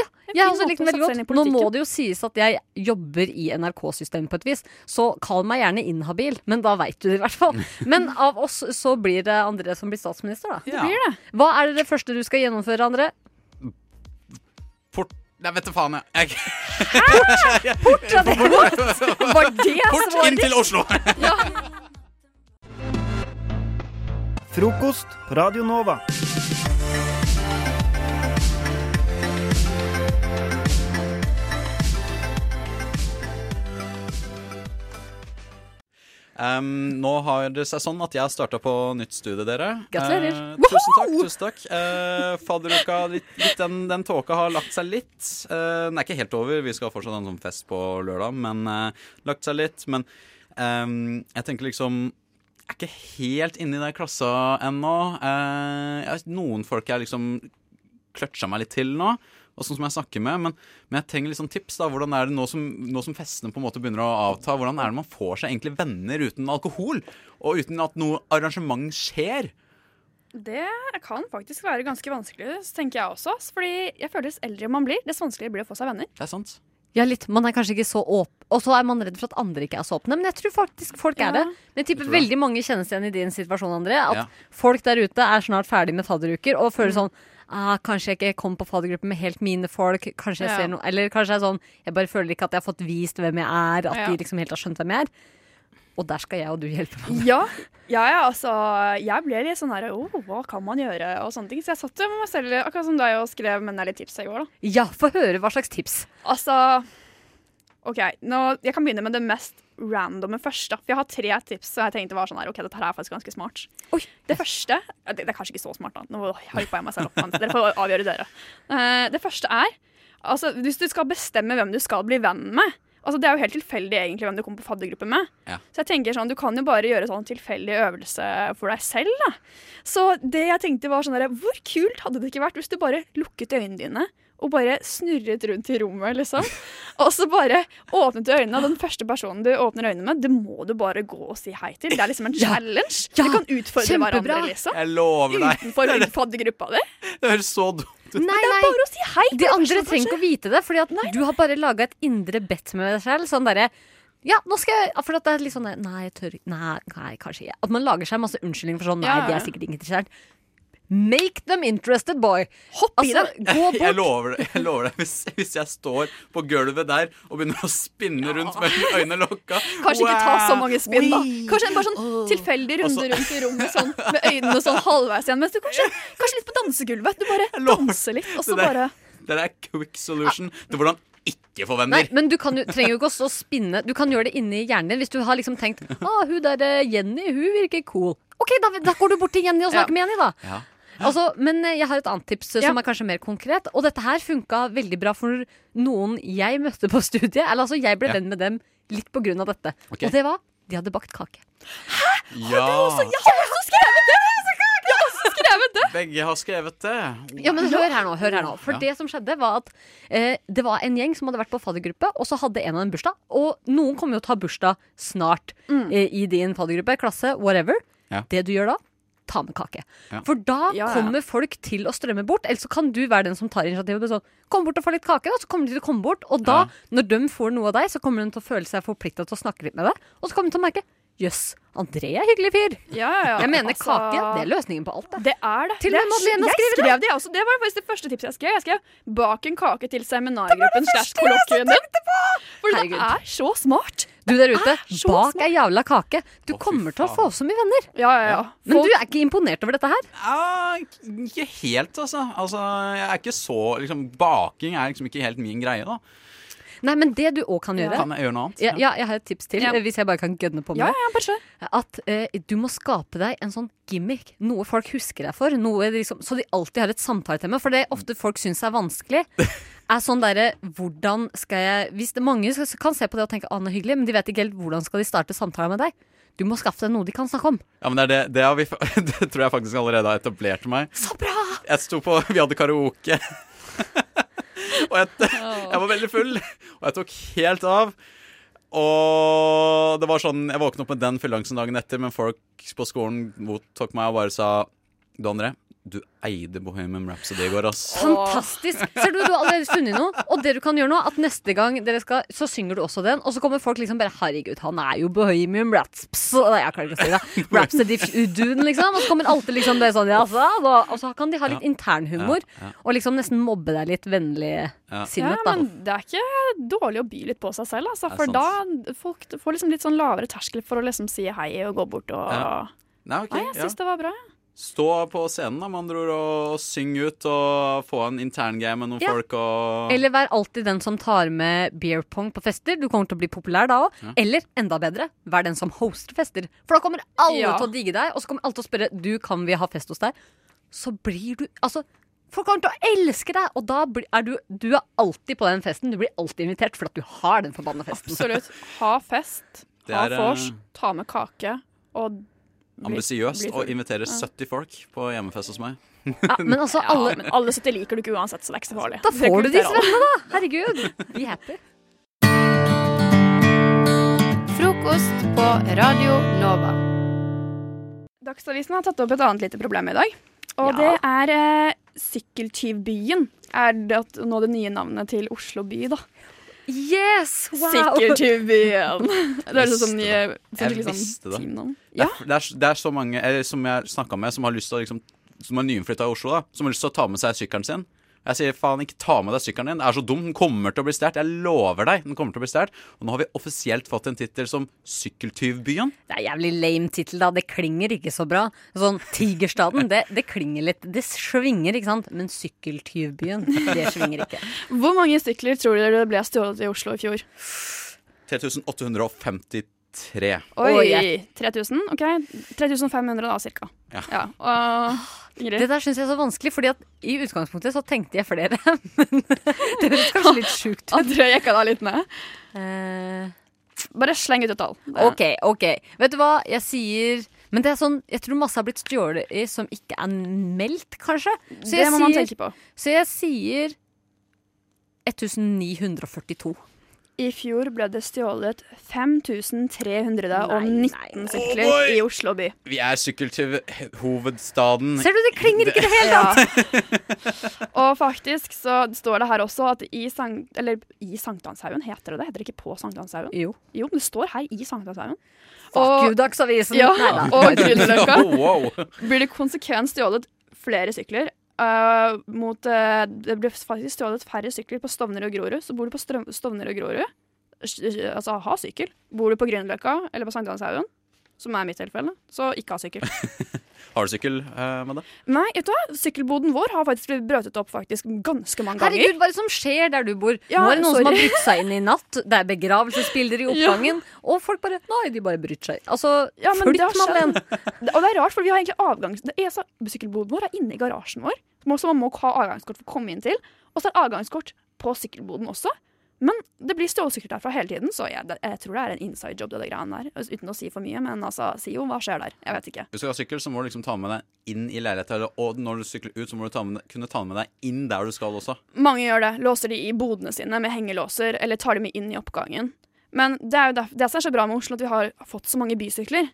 Speaker 9: Ja,
Speaker 11: En
Speaker 9: jeg har
Speaker 11: fin
Speaker 9: også
Speaker 11: måte
Speaker 9: likt
Speaker 11: å
Speaker 9: den
Speaker 11: sette seg
Speaker 9: veldig
Speaker 11: inn i
Speaker 9: godt. Nå må
Speaker 11: politikken.
Speaker 9: det jo sies at jeg jobber i NRK-systemet på et vis, så kall meg gjerne inhabil, men da veit du det i hvert fall. Men av oss så blir det André som blir statsminister, da.
Speaker 10: Ja.
Speaker 11: Blir det?
Speaker 9: Hva er det første du skal gjennomføre, André?
Speaker 10: Port... Nei, vet du faen, jeg.
Speaker 9: Bort fra det! Var det
Speaker 10: Port inn
Speaker 9: svaret?
Speaker 10: til Oslo!
Speaker 1: Frokost på Radio Nova.
Speaker 10: Em, nå har det seg sånn at jeg har starta på nytt studie, dere.
Speaker 9: Gratulerer.
Speaker 10: Eh, tusen takk. tusen takk Eh, Fadderuka, litt, litt den, den tåka har lagt seg litt. Eh, den er ikke helt over, vi skal fortsatt ha en sånn fest på lørdag, men eh, lagt seg litt. Men em, jeg tenker liksom Jeg er ikke helt inne i den klassa ennå. Eh, jeg, noen folk jeg liksom kløtsja meg litt til nå. Og sånn som jeg snakker med, men, men jeg trenger litt sånn tips. da, hvordan er det Nå som, nå som festene på en måte begynner å avta, hvordan er det man får seg egentlig venner uten alkohol? Og uten at noe arrangement skjer?
Speaker 11: Det kan faktisk være ganske vanskelig, tenker jeg også. ass. Fordi jeg føler dess eldre man blir, dess vanskeligere blir det å få seg venner.
Speaker 10: Det er sant.
Speaker 9: Ja, litt. Man er kanskje ikke så åpen. Og så er man redd for at andre ikke er så åpne. Men jeg tror faktisk folk er det. Men jeg tipper
Speaker 12: tror det.
Speaker 9: veldig mange kjenner seg igjen i din situasjon, André. At
Speaker 12: Ja.
Speaker 9: folk der ute er snart ferdig med fadderuker og
Speaker 11: Mm.
Speaker 9: føler sånn ah, Kanskje jeg ikke kom på faddergruppe med helt mine folk. Kanskje jeg
Speaker 12: Ja.
Speaker 9: ser noe Eller kanskje jeg er sånn Jeg bare føler ikke at jeg har fått vist hvem jeg er. At
Speaker 11: Ja.
Speaker 9: de liksom helt har skjønt hvem jeg er. Og der skal jeg og du hjelpe meg.
Speaker 11: Ja, ja, ja, altså, jeg ble litt sånn her oh, Hva kan man gjøre? og sånne ting. Så jeg satt jo med meg selv, akkurat som deg, og skrev menn er litt tipsa i går, da.
Speaker 9: Ja, få høre hva slags tips.
Speaker 11: Altså OK, nå, jeg kan begynne med det mest randomme først. da. For jeg har tre tips, så jeg tenkte var sånn her, ok, dette her er faktisk ganske smart. Det første ja, det, det er kanskje ikke så smart, da. Nå hypa jeg meg selv opp, men dere får avgjøre dere. Eh, det første er altså, hvis du skal bestemme hvem du skal bli venn med. Altså, det er jo helt tilfeldig egentlig hvem du kommer på faddergruppe med.
Speaker 10: Ja.
Speaker 11: Så jeg tenker sånn, Du kan jo bare gjøre sånn tilfeldig øvelse for deg selv. da. Så det jeg tenkte var sånn der, Hvor kult hadde det ikke vært hvis du bare lukket øynene dine og bare snurret rundt i rommet, liksom? Og så bare åpnet du øynene, og den første personen du åpner øynene med, det må du bare gå og si hei til. Det er liksom en challenge. du kan utfordre hverandre,
Speaker 10: kjempebra.
Speaker 11: liksom.
Speaker 10: Jeg lover deg.
Speaker 11: Utenfor faddergruppa di.
Speaker 10: Det høres så dumt ut.
Speaker 9: det
Speaker 11: er bare å si hei.
Speaker 9: De andre trenger ikke å vite det, Fordi at du har bare laga et indre bedt med deg selv. Sånn derre ja, nå skal jeg For at det er litt sånn der, Nei, jeg tør ikke Nei, nei kanskje ikke. At man lager seg masse unnskyldninger for sånn Nei,
Speaker 10: Ja, ja.
Speaker 9: de er sikkert ikke interessert. Make them interested, boy. Hopp
Speaker 11: i
Speaker 9: det. Altså, Gå
Speaker 10: Jeg
Speaker 9: bort.
Speaker 10: lover det, jeg lover det. Hvis, hvis jeg står på gulvet der og begynner å spinne rundt med øynene lukka
Speaker 11: Kanskje ikke ta så mange spinn, da.
Speaker 10: Oi.
Speaker 11: Kanskje en bare sånn tilfeldig runde
Speaker 10: Og så-
Speaker 11: rundt i rommet sånn, med øynene sånn halvveis igjen. Mens du kanskje, kanskje litt på dansegulvet. Du bare danser litt, og så
Speaker 10: det der-
Speaker 11: bare
Speaker 10: Det der er quick solution til hvordan ikke få venner.
Speaker 9: Nei, men du kan jo, trenger jo ikke også å spinne. Du kan gjøre det inni hjernen din hvis du har liksom tenkt ah, hun der eh, Jenny, hun virker cool. OK, da, da går du bort til Jenny og snakker med Jenny, da.
Speaker 10: Ja.
Speaker 9: Altså, men eh, jeg har et annet tips eh, som er kanskje mer konkret. Og dette her funka veldig bra for noen jeg møtte på studiet. Eller altså, jeg ble
Speaker 10: Ja.
Speaker 9: venn med dem litt på grunn av dette.
Speaker 10: Ok.
Speaker 9: Og det var de hadde bakt kake.
Speaker 10: Ja,
Speaker 11: Jeg har også skrevet det! Jeg har også skrevet det!
Speaker 10: begge har skrevet det.
Speaker 9: Ja, men hør her nå, hør her nå. For
Speaker 10: Ja.
Speaker 9: det som skjedde var at eh, det var en gjeng som hadde vært på faddergruppe, og så hadde en av dem bursdag. Og noen kommer jo til å ha bursdag snart eh, i din faddergruppe, klasse, whatever.
Speaker 12: Mm. Ja.
Speaker 9: Det du gjør da, ta med kake.
Speaker 12: Ja.
Speaker 9: For da
Speaker 12: Ja, ja.
Speaker 9: kommer folk til å strømme bort, eller så kan du være den som tar initiativet. med Sånn, kom bort og få litt kake, da, så kommer de til å komme bort. Og da, når de får noe av deg, så kommer de til å føle seg forplikta til å snakke litt med deg. Og så kommer de til å merke jøss, André er hyggelig fyr.
Speaker 11: Ja, ja, ja.
Speaker 9: Jeg mener
Speaker 11: Altså-
Speaker 9: kake, det er løsningen på alt.
Speaker 11: Det er det.
Speaker 9: Til og
Speaker 11: Det
Speaker 9: med
Speaker 11: er-
Speaker 9: Madeleine har skrevet
Speaker 11: Jeg
Speaker 9: det.
Speaker 11: skrev det, jeg også. Det var faktisk det første tipset jeg skrev. Jeg skrev 'bak en kake til seminargruppen slash
Speaker 9: første jeg
Speaker 11: kollokvien din'. For det
Speaker 9: Herregud.
Speaker 11: er så smart.
Speaker 9: Du der ute, bak ei jævla kake. Du kommer til å få så mye venner. Men du er ikke imponert over dette her?
Speaker 10: Ah, Ikke helt, altså. altså. Jeg er ikke så liksom, Baking er liksom ikke helt min greie, da.
Speaker 9: Nei, men det du òg kan gjøre
Speaker 10: Kan jeg gjøre noe annet?
Speaker 9: Ja, ja, jeg har et tips til,
Speaker 10: Ja.
Speaker 9: eh, hvis jeg bare kan gønne på med
Speaker 10: Ja,
Speaker 9: det. At eh, du må skape deg en sånn gimmick. Noe folk husker deg for. Noe liksom, så de alltid har et samtaletema. For det ofte folk syns er vanskelig, er sånn derre Hvordan skal jeg Hvis det mange skal, kan se på det og tenke 'Å, den er hyggelig', men de vet ikke helt hvordan skal de starte samtalen med deg. Du må skaffe deg noe de kan snakke om.
Speaker 10: Ja, men det, er det, det, har vi, det tror jeg faktisk allerede har etablert meg.
Speaker 9: Så bra!
Speaker 10: Jeg sto på, Vi hadde karaoke. og jeg, jeg var veldig full, og jeg tok helt av. Og det var sånn, jeg våkna opp med den fylleangsten dagen etter, men folk på skolen mottok meg og bare sa Du, André, du eide Bohemian Rhapsody i går, ass.
Speaker 9: Fantastisk! Ser du, du har allerede funnet noe. Og det du kan gjøre nå, at neste gang dere skal, så synger du også den. Og så kommer folk liksom bare Herregud, han er jo Bohemian Raps... Nei, jeg klarer ikke å si det. Rhapsody-duen, liksom. Og så kommer alltid liksom det sånn, ja, så, da. Og så kan de ha litt internhumor.
Speaker 11: Ja, ja.
Speaker 9: Og liksom nesten mobbe deg litt vennlig sinnet,
Speaker 11: ja,
Speaker 9: da.
Speaker 11: men det er ikke dårlig å by litt på seg selv,
Speaker 10: Det
Speaker 11: altså,
Speaker 10: er
Speaker 11: for
Speaker 10: sant.
Speaker 11: da folk får liksom litt sånn lavere terskel for å liksom si hei og gå bort og
Speaker 10: Ja. Nei, ok,
Speaker 11: Nei, jeg
Speaker 10: ja.
Speaker 11: syns det var bra.
Speaker 10: Stå på scenen, da, med andre ord, og syng ut og få en interngame med noen
Speaker 9: Ja.
Speaker 10: folk og
Speaker 9: Eller vær alltid den som tar med beer pong på fester. Du kommer til å bli populær da òg.
Speaker 10: Ja.
Speaker 9: Eller enda bedre, vær den som hoster fester. For da kommer alle
Speaker 12: Ja.
Speaker 9: til å digge deg, og så kommer alle til å spørre Du, kan vi ha fest hos deg. Så blir du Altså, folk kommer til å elske deg, og da blir, er du Du er alltid på den festen. Du blir alltid invitert for at du har den forbanna festen.
Speaker 11: Absolutt. Ha fest,
Speaker 10: Det
Speaker 11: ha
Speaker 10: er, eh,
Speaker 11: vors, ta med kake og bli- bli
Speaker 10: Ambisiøst
Speaker 11: full.
Speaker 10: og invitere
Speaker 11: Ja.
Speaker 10: 70 folk på hjemmefest hos meg.
Speaker 9: men altså,
Speaker 11: Ja,
Speaker 9: alle-
Speaker 11: men alle 70 liker du ikke uansett, så det er ikke så farlig.
Speaker 9: Da får du disse
Speaker 11: Rekruttere alle.
Speaker 9: vennene, da! Herregud. Be happy.
Speaker 7: Frokost på Radio Nova.
Speaker 11: Dagsavisen har tatt opp et annet lite problem i dag. Og det er eh, Sykkeltyvbyen. Er det at- nå det nye navnet til Oslo by, da? Yes!
Speaker 9: wow.
Speaker 11: Sikker Tuvien. Det høres ut som de
Speaker 10: Jeg
Speaker 11: sånn,
Speaker 10: visste det.
Speaker 11: teamnavn.
Speaker 10: Det er, det, er, det er så mange eller, som jeg snakka med, som har lyst til å liksom, Som er nyinnflytta i Oslo, da som har lyst til å ta med seg sykkelen sin. Jeg sier faen, ikke ta med deg sykkelen din. Det er så dum. Den kommer til å bli stjålet. Jeg lover deg. den kommer til å bli stjert. Og nå har vi offisielt fått en tittel som Sykkeltyvbyen.
Speaker 9: Det er jævlig lame tittel, da. Det klinger ikke så bra. Sånn Tigerstaden, det, det klinger litt. Det svinger, ikke sant. Men Sykkeltyvbyen, det svinger ikke.
Speaker 11: Hvor mange sykler tror dere det ble stjålet i Oslo i fjor?
Speaker 10: 3853.
Speaker 11: Oi!
Speaker 9: Oi.
Speaker 11: 3000? OK. 3500 da, cirka.
Speaker 10: Ja.
Speaker 9: Det der syns jeg er så vanskelig, Fordi at i utgangspunktet så tenkte jeg flere. Men det høres kanskje litt sjukt ut.
Speaker 11: Andre jekka da litt ned.
Speaker 9: Bare sleng ut et tall. OK, OK. Vet du hva, jeg sier Men det er sånn, jeg tror masse har blitt stjålet i som ikke er meldt, kanskje.
Speaker 11: Det må man tenke på.
Speaker 9: Så jeg sier 1942.
Speaker 11: I fjor ble det stjålet 5319 sykler
Speaker 10: Oi!
Speaker 11: i Oslo by.
Speaker 10: Vi er sykkeltyvhovedstaden.
Speaker 9: Mm.
Speaker 11: Ser du, det klinger ikke i det hele tatt! Og faktisk så står det her også at i, sank, eller, i Sankthanshaugen heter det det. Heter det ikke på Sankthanshaugen?
Speaker 9: Jo.
Speaker 11: jo, men det står her i Sankthanshaugen.
Speaker 9: Fuck you, Dagsavisen.
Speaker 11: Ja,
Speaker 9: Neida.
Speaker 11: og Grünerløkka
Speaker 9: Wow.
Speaker 11: blir det konsekvent stjålet flere sykler. eh, mot, eh, det ble faktisk stjålet færre sykler på Stovner og Grorud. Så bor du på Strøm Stovner og Grorud, s- s- altså ha sykkel. Bor du på Grünerløkka eller på Sankthanshaugen, som er mitt tilfelle, så ikke ha sykkel.
Speaker 10: Har du sykkel, eh, Madde?
Speaker 11: Nei, vet du hva? Sykkelboden vår har faktisk blitt brøtet opp faktisk ganske mange ganger.
Speaker 9: Herregud, hva er det som skjer der du bor?
Speaker 11: Ja,
Speaker 9: Nå er det noen som har
Speaker 11: sorry.
Speaker 9: brytt seg inn i natt. Det er begravelsesbilder i oppgangen. Og folk bare Nei, de bare bryter seg. Altså,
Speaker 11: Ja, men det har
Speaker 9: flytt meg
Speaker 11: skjedd.
Speaker 9: den.
Speaker 11: Det- Og det er rart, for vi har egentlig avgangs... det er så- Sykkelboden vår er inne i garasjen vår, som også man må ha avgangskort for å komme inn til. Og så er det avgangskort på sykkelboden også. Men det blir stjålesykler derfra hele tiden, så jeg, det- jeg tror det er en inside job, det der greiene der. Altså, Uten å si for mye, men altså, si jo, hva skjer der? Jeg vet ikke.
Speaker 10: Hvis du skal ha sykkel, så må du liksom ta med deg inn i leiligheten. eller- Og når du sykler ut, så må du ta med, deg- kunne ta med deg inn der du skal også.
Speaker 11: Mange gjør det. Låser de i bodene sine med hengelåser, eller tar de med inn i oppgangen. Men det er jo derf- det som er så bra med Oslo, at vi har fått så mange bysykler.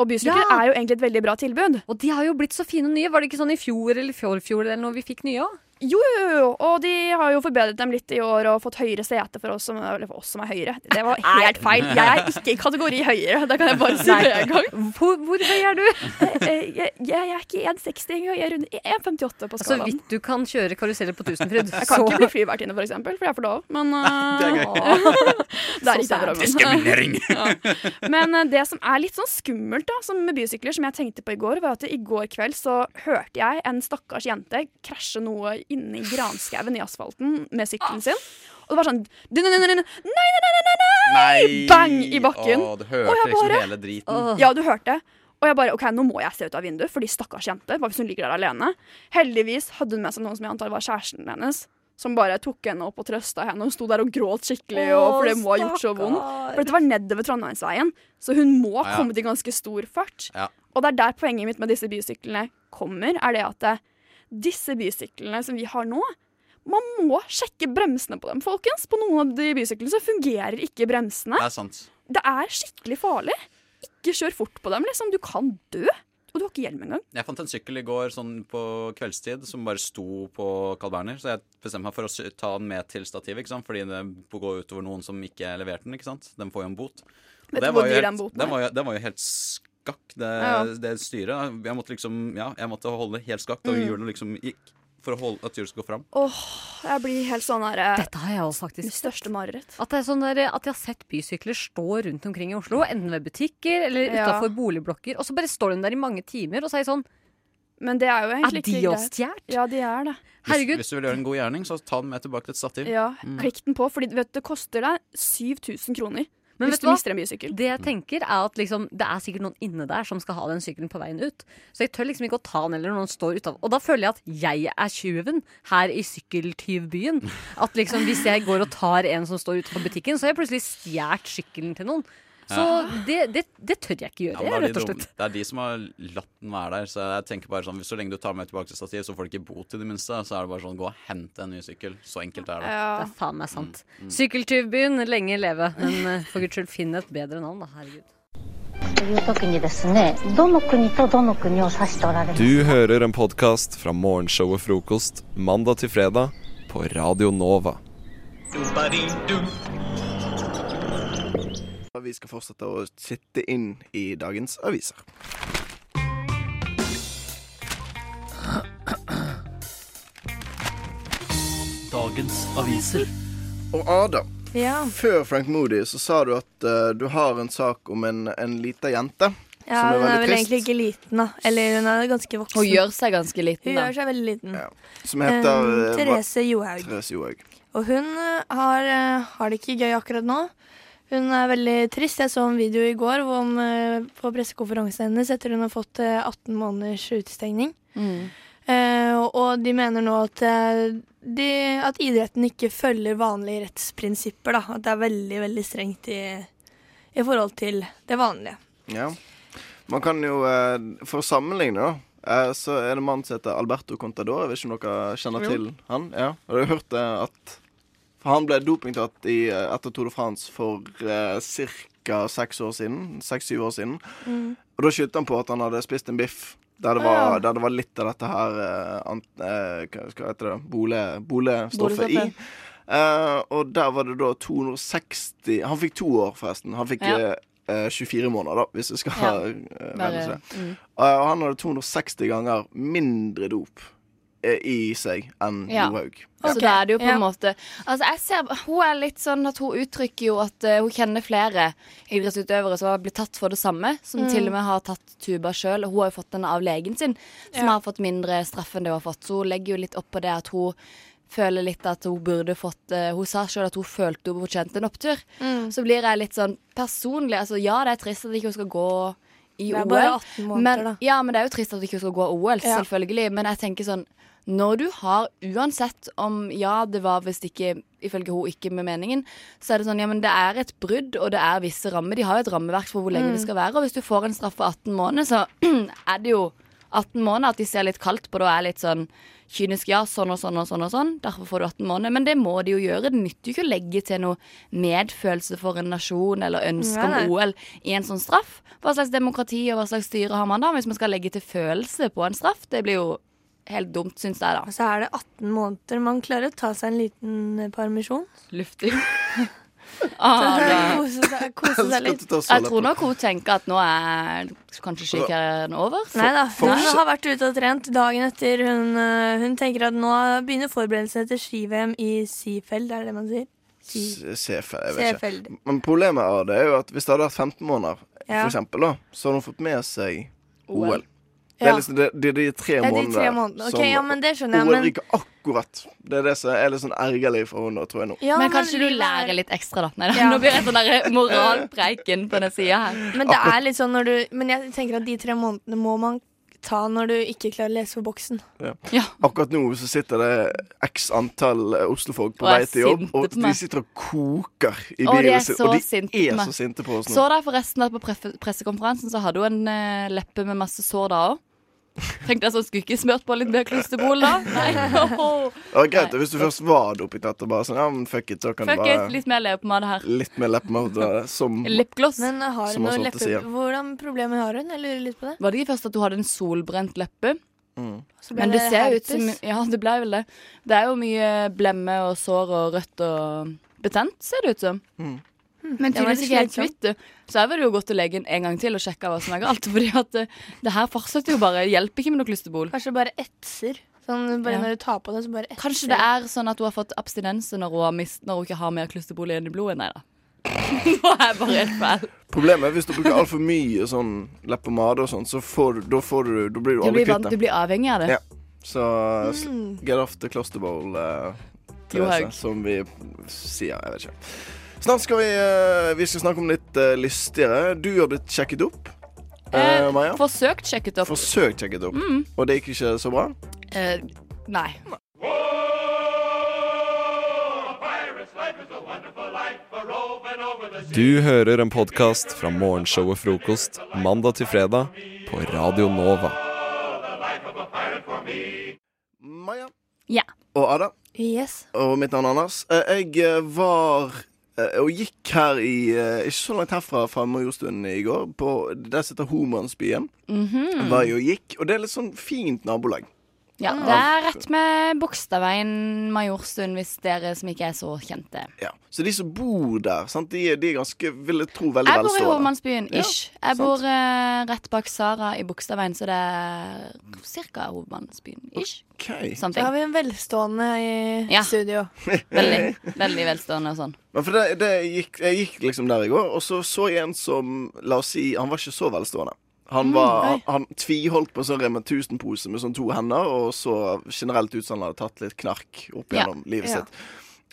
Speaker 11: Og bysykler
Speaker 9: Ja.
Speaker 11: er jo egentlig et veldig bra tilbud.
Speaker 9: Og de har jo blitt så fine og nye. Var det ikke sånn i fjor eller fjorfjor eller når vi fikk nye òg?
Speaker 11: Jo, jo, jo, jo, og de har jo forbedret dem litt i år og fått høyere sete for oss som, eller for oss som er høyere. Det var helt feil. Jeg er ikke i kategori høyere, det kan jeg bare si
Speaker 9: Nei.
Speaker 11: med en gang.
Speaker 9: Hvor, høy er du?
Speaker 11: Jeg, jeg, jeg er ikke 1,60 engang, jeg er rundt 1,58 på
Speaker 9: Så
Speaker 11: skalaen.
Speaker 9: vidt Altså, du kan kjøre karuseller på Tusenfryd.
Speaker 11: Jeg kan ikke bli flyvertinne, for eksempel, for jeg er for dov. Men
Speaker 9: det er gøy.
Speaker 11: øh, det er
Speaker 10: sånn
Speaker 9: Så
Speaker 11: ikke den drømmen. Men eh, det som er litt sånn skummelt da, som med bysykler, som jeg tenkte på i går, var at i går kveld så hørte jeg en stakkars jente krasje noe inne i granskauen i asfalten med sykkelen sin. Og det var sånn Nei, nei, nei, nei, nei, nei, nei! Bang i bakken.
Speaker 10: Å, du hørte
Speaker 11: Og jeg
Speaker 10: liksom
Speaker 11: bare-
Speaker 10: hele driten.
Speaker 11: Ja, du hørte. Og jeg bare OK, nå må jeg se ut av vinduet, fordi stakkars jente. Hva hvis hun ligger der alene? Heldigvis hadde hun med seg noen som jeg antar var kjæresten hennes. Som bare tok henne opp og trøsta henne. Hun sto der og gråt skikkelig. Og, for det må ha gjort så vondt. For dette var nedover Trondheimsveien, så hun må ha
Speaker 12: Ja.
Speaker 11: kommet i ganske stor fart.
Speaker 12: Ja.
Speaker 11: Og det er der poenget mitt med disse bysyklene kommer, er det at eh, disse bysyklene som vi har nå, man må sjekke bremsene på dem, folkens. På noen av de bysyklene så fungerer ikke bremsene.
Speaker 10: Det er sant.
Speaker 11: Det er skikkelig farlig. Ikke kjør fort på dem, liksom. Du kan dø. Og du har ikke hjelm engang.
Speaker 10: Jeg fant en sykkel i går sånn på kveldstid som bare sto på Carl Berner. Så jeg bestemte meg for å sy- ta den med til stativet, ikke sant? fordi det går utover noen som ikke leverte den. ikke sant? De får jo en bot. Og
Speaker 11: Vet
Speaker 10: det
Speaker 11: du hvor
Speaker 10: var jo helt-
Speaker 11: dyr den boten
Speaker 10: den
Speaker 11: er?
Speaker 10: var jo, den var jo helt skakk, det,
Speaker 11: Ja.
Speaker 10: det styret. Jeg måtte liksom, ja, jeg måtte holde det helt skakk da
Speaker 11: Mm.
Speaker 10: hjulene liksom gikk, for å holde at hjulet skulle gå fram.
Speaker 11: Åh, jeg blir helt sånn her eh,
Speaker 9: Dette har jeg også faktisk
Speaker 11: Mitt største mareritt.
Speaker 9: At, det er sånn der, at jeg har sett bysykler stå rundt omkring i Oslo, enten ved butikker eller
Speaker 11: Ja.
Speaker 9: utafor boligblokker, og så bare står de der i mange timer, og så er jeg sånn
Speaker 11: Men det er jo egentlig ikke
Speaker 9: Adios,
Speaker 11: greit. Ja, de er det.
Speaker 10: Hvis, hvis du vil gjøre en god gjerning, så ta den med tilbake til et stativ.
Speaker 11: Ja,
Speaker 10: Mm.
Speaker 11: Klikk den på, for det koster deg 7000 kroner
Speaker 9: Men
Speaker 11: hvis
Speaker 9: vet
Speaker 11: du
Speaker 9: hva?
Speaker 11: mister en bysykkel.
Speaker 9: Det jeg tenker er at liksom, det er sikkert noen inne der som skal ha den sykkelen på veien ut. Så jeg tør liksom ikke å ta den eller noen står utenfor. Og da føler jeg at jeg er tjuven her i sykkeltyvbyen. At liksom hvis jeg går og tar en som står utenfor butikken, så har jeg plutselig stjålet sykkelen til noen. Så det, det, det tør jeg ikke
Speaker 10: Ja,
Speaker 9: gjøre,
Speaker 10: men det,
Speaker 9: rett
Speaker 10: er de
Speaker 9: og
Speaker 10: dumme-
Speaker 9: slett.
Speaker 10: det er de som har latt den være der. Så jeg tenker bare sånn, hvis Så lenge du tar med tilbake til stativ, så får du ikke bot i det minste. Så er det bare sånn, gå og hent en ny sykkel. Så enkelt er det.
Speaker 9: Det er faen meg sant.
Speaker 10: Mm,
Speaker 9: Sykkeltyvbyen, lenge leve. Men eh, for guds skyld, finn et bedre navn, da. Herregud.
Speaker 13: という時にですねどの国とどの国を指しておられる
Speaker 6: Du hører en podkast fra morgenshowet Frokost mandag til fredag på Radio Nova.
Speaker 8: Dum-ba-dee-dum,
Speaker 12: Og Vi skal fortsette å sitte inn i dagens aviser.
Speaker 14: Dagens aviser.
Speaker 12: Og Ada, før Frank Moody så sa du at eh, du har en sak om en, en lita jente.
Speaker 15: Ja,
Speaker 12: som
Speaker 15: hun er vel
Speaker 12: veldig
Speaker 15: egentlig ikke liten, da. Eller hun er ganske voksen.
Speaker 16: Hun gjør seg ganske liten,
Speaker 15: Hun
Speaker 16: da.
Speaker 15: gjør seg veldig liten.
Speaker 12: Som heter
Speaker 15: Eh,
Speaker 12: eh, hva-
Speaker 15: Therese Johaug.
Speaker 12: Therese Johaug.
Speaker 15: Og hun eh, har, eh, har det ikke gøy akkurat nå. Hun er veldig trist. Jeg så en video i går hvor om, eh, på pressekonferansen hennes etter hun har fått eh, 18 måneders utestengning.
Speaker 16: Mm.
Speaker 15: Eh, og- og de mener nå at, eh, de, at idretten ikke følger vanlige rettsprinsipper. Da. At det er veldig, veldig strengt i, i forhold til det vanlige.
Speaker 12: Ja. Man kan jo, eh, for å sammenligne, da, eh, så er det en mann som heter Alberto Contador. Jeg vet ikke om dere kjenner
Speaker 15: Jo.
Speaker 12: til han? Ja. Og dere har hørt eh, at for han ble dopingtatt i, eh, etter Tour de France for eh, ca. seks år siden. Seks-syv år siden.
Speaker 15: Mm.
Speaker 12: Og da skyldte han på at han hadde spist en biff der det var, der det var litt av dette her eh, ant, eh, hva hva heter det, bole, bolestoffet i.
Speaker 17: Bolestoffet.
Speaker 12: Eh, og der var det da 260 Han fikk to år, forresten. Han fikk
Speaker 17: Ja.
Speaker 12: eh, eh, 24 måneder, da, hvis du skal
Speaker 17: Ja.
Speaker 12: eh, regne
Speaker 17: Bare-
Speaker 12: seg.
Speaker 17: mm.
Speaker 12: Eh, Og han hadde 260 ganger mindre dop eh, i seg enn
Speaker 16: Ja.
Speaker 12: Johaug.
Speaker 16: Så da er det jo på en måte Altså jeg ser, Hun er litt sånn at hun uttrykker jo at eh, hun kjenner flere idrettsutøvere som har blitt tatt for det samme, som
Speaker 15: Mm.
Speaker 16: til og med har tatt tuba sjøl. Hun har jo fått den av legen sin, som
Speaker 15: Ja.
Speaker 16: har fått mindre straff enn det hun har fått. Så hun legger jo litt opp på det at hun føler litt at hun burde fått eh, Hun sa sjøl at hun følte hun fortjente en opptur.
Speaker 15: Mm.
Speaker 16: Så blir jeg litt sånn personlig Altså ja, det er trist at ikke hun skal gå i
Speaker 15: Det er
Speaker 16: OL.
Speaker 15: bare 18 måneder,
Speaker 16: men,
Speaker 15: da.
Speaker 16: ja, men det er jo trist at du ikke skal gå OL,
Speaker 15: Ja.
Speaker 16: selvfølgelig. Men jeg tenker sånn Når du har, uansett om Ja, det var visst ikke ifølge hun ikke med meningen, så er det sånn Ja, men det er et brudd, og det er visse rammer. De har jo et rammeverk for hvor lenge
Speaker 15: Mm.
Speaker 16: det skal være. Og hvis du får en straff på 18 måneder, så er det jo 18 måneder at de ser litt kaldt på det og er litt sånn kynisk. Ja, sånn og sånn og sånn og sånn. Derfor får du 18 måneder. Men det må de jo gjøre. Det nytter jo ikke å legge til noe medfølelse for en nasjon eller ønske
Speaker 15: Nei, nei.
Speaker 16: om OL OL i en sånn straff. Hva slags demokrati og hva slags styre har man da hvis man skal legge til følelse på en straff? Det blir jo helt dumt, syns jeg,
Speaker 15: Og
Speaker 16: da.
Speaker 15: så er det 18 måneder. Man klarer å ta seg en liten eh, permisjon.
Speaker 16: Lufting.
Speaker 15: Ah, Kose seg- kose seg litt.
Speaker 16: Jeg tror nok hun tenker at nå er kanskje skikarrieren over.
Speaker 15: Nei da. Hun har vært ute og trent dagen etter. Hun, eh, hun tenker at nå begynner forberedelsene til ski-VM i Seefeld, er det det man sier? Si-
Speaker 12: Sefeld, jeg vet
Speaker 15: Seefeld.
Speaker 12: ikke. Men problemet av det er jo at hvis det hadde vært 15 måneder,
Speaker 15: Ja.
Speaker 12: for eksempel, da, så hadde hun fått med seg OL.
Speaker 15: OL.
Speaker 12: Det er
Speaker 15: Ja.
Speaker 12: liksom de, de, de tre
Speaker 15: Ja, de tre
Speaker 12: månedene
Speaker 15: månedene. Ok, ja, men det skjønner jeg,
Speaker 12: OL
Speaker 15: men-
Speaker 12: ryker akkurat. Det er det som er litt sånn ergerlig for henne, tror jeg nå.
Speaker 16: men, kanskje du lærer litt ekstra, da. Nei, da.
Speaker 15: Ja.
Speaker 16: Nå blir det sånn der moralpreiken på den sida her.
Speaker 15: Men det er litt sånn når du Men jeg tenker at de tre månedene må man ta når du ikke klarer å lese på boksen.
Speaker 12: Ja. Akkurat nå så sitter det x antall eh, oslofolk på
Speaker 16: Og er
Speaker 12: vei til jobb,
Speaker 16: sinte
Speaker 12: og
Speaker 16: på
Speaker 12: de
Speaker 16: meg.
Speaker 12: sitter og koker i
Speaker 16: Å, de
Speaker 12: bilen
Speaker 16: er
Speaker 12: sin,
Speaker 16: så
Speaker 12: og
Speaker 16: sinte
Speaker 12: de
Speaker 16: på
Speaker 12: er
Speaker 16: meg.
Speaker 12: så sinte på oss nå.
Speaker 16: Så deg forresten at på pref- pressekonferansen så hadde hun en eh, leppe med masse sår da òg. Tenkte jeg sånn, skulle ikke smørt på litt mer klosterbol da? Nei.
Speaker 12: Ja, greit, hvis du først var dopingtatt og bare sånn, ja, men fuck it, så kan
Speaker 16: Fuck
Speaker 12: du
Speaker 16: it,
Speaker 12: bare
Speaker 16: litt mer leppepomade her.
Speaker 12: Litt mer leppepomade som
Speaker 16: Lipgloss.
Speaker 15: Men har
Speaker 12: Som
Speaker 15: hun
Speaker 12: også alltid
Speaker 15: noe leppe...
Speaker 12: sier.
Speaker 15: Hvordan problemer har hun? Jeg lurer litt på det.
Speaker 16: Var det ikke først at du hadde en solbrent leppe?
Speaker 12: Mm.
Speaker 15: Så ble
Speaker 16: Men det
Speaker 15: det
Speaker 16: ser jo ut som
Speaker 15: herpes.
Speaker 16: Ja, det ble vel det. Det er jo mye blemme og sår og rødt og betent, ser det ut som.
Speaker 12: Mm.
Speaker 16: Men
Speaker 15: Det Hm, var
Speaker 16: tydeligvis
Speaker 15: litt
Speaker 16: ikke helt
Speaker 15: slitsomt.
Speaker 16: kvitt det. Så jeg ville jo gått til legen en gang til og sjekka hva som er galt. Fordi at det, det her fortsetter jo bare. Hjelper ikke med noe klusterbol.
Speaker 15: Kanskje bare etser. Sånn bare
Speaker 16: Ja.
Speaker 15: når du tar på det, så bare etser.
Speaker 16: Kanskje det er sånn at hun har fått abstinense når hun, har mist, når hun ikke har mer klusterbol igjen i blodet. Nei da. Nå er jeg bare helt fæl.
Speaker 12: Problemet er hvis du bruker altfor mye sånn leppepomade og sånn, så får du, da, får du, da blir du
Speaker 16: Du blir,
Speaker 12: aldri kvitt
Speaker 16: vant-
Speaker 12: det.
Speaker 16: du blir avhengig av det.
Speaker 12: Ja. Så s-
Speaker 16: Mm.
Speaker 12: get off the cluster bowl, eh,
Speaker 16: Johaug.
Speaker 12: Therese, som vi sier. Jeg vet ikke. Snart skal vi, eh, vi skal snakke om litt eh, lystigere. Du har blitt sjekket opp, eh, Maja.
Speaker 16: Forsøkt sjekket opp.
Speaker 12: Forsøkt sjekket opp.
Speaker 16: Mm.
Speaker 12: Og det gikk ikke så bra.
Speaker 16: Eh, nei.
Speaker 6: Du hører en podkast fra morgenshowet Frokost mandag til fredag på Radio Nova.
Speaker 16: Ja.
Speaker 12: Og Ada.
Speaker 15: Yes.
Speaker 12: Og mitt navn er Anders. Eh, Jeg eh, var eh, og gikk her i eh, Ikke så langt herfra fra Majorstuen i går. På, der sitter Homansbyen.
Speaker 16: Mhm.
Speaker 12: Var jeg og gikk, og det er litt sånn fint nabolag.
Speaker 16: Ja, Mm. det er rett med Bogstadveien Majorstuen, hvis dere som ikke er så kjente.
Speaker 12: Ja. Så de som bor der, sant? De, er- de er ganske, vil jeg tro, veldig
Speaker 16: Jeg bor i
Speaker 12: velstående.
Speaker 16: Hovmannsbyen,
Speaker 12: Ja,
Speaker 16: ish. Jeg bor eh, rett bak Sara i Bogstadveien, så det er ca. Hovmannsbyen, ish.
Speaker 12: Ok.
Speaker 15: Da har vi en velstående i
Speaker 16: Ja.
Speaker 15: studio.
Speaker 16: Veldig, veldig velstående og sånn.
Speaker 12: Men for det, det gikk, jeg gikk liksom der i går, og så så jeg en som La oss si han var ikke så velstående. Han,
Speaker 16: Mm,
Speaker 12: var,
Speaker 16: oi.
Speaker 12: han, han tviholdt på en sånn Rema 1000-pose med sånn to hender, og så generelt ut som han hadde tatt litt knark opp
Speaker 16: Ja.
Speaker 12: gjennom livet
Speaker 16: Ja.
Speaker 12: sitt.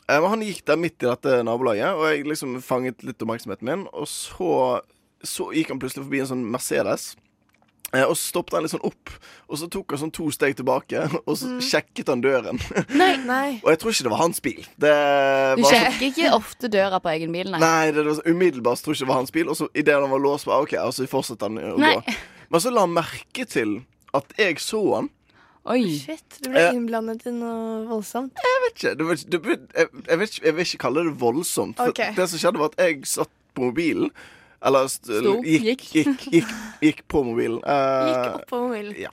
Speaker 12: Eh, Men han gikk der midt i dette nabolaget, og jeg liksom fanget litt oppmerksomheten min. Og så, så gikk han plutselig forbi en sånn Mercedes. Eh, Og så stoppet han litt sånn opp, og så tok han sånn to steg tilbake, og så
Speaker 16: Mm.
Speaker 12: sjekket han døren.
Speaker 15: Nei, nei.
Speaker 12: Og jeg tror ikke det var hans bil. Det
Speaker 16: Du
Speaker 12: var sånn-
Speaker 16: sjekker ikke ofte døra på egen bil, nei.
Speaker 12: Nei, det var så- umiddelbart tror jeg ikke det var hans bil. Og så idet han var låst, bare OK, og så fortsatte han å
Speaker 16: Nei.
Speaker 12: gå. Men så la han merke til at jeg så han.
Speaker 15: Shit, du ble
Speaker 12: Eh.
Speaker 15: innblandet i noe voldsomt.
Speaker 12: Jeg vet ikke, det var, det, var- jeg, jeg, vet ikke jeg vil ikke kalle det voldsomt. For
Speaker 15: Ok.
Speaker 12: Det som skjedde, var at jeg satt på mobilen. Eller st
Speaker 15: Sto,
Speaker 12: gikk, gikk, gikk, gikk på mobilen. Eh,
Speaker 15: Gikk opp på mobilen.
Speaker 12: Ja.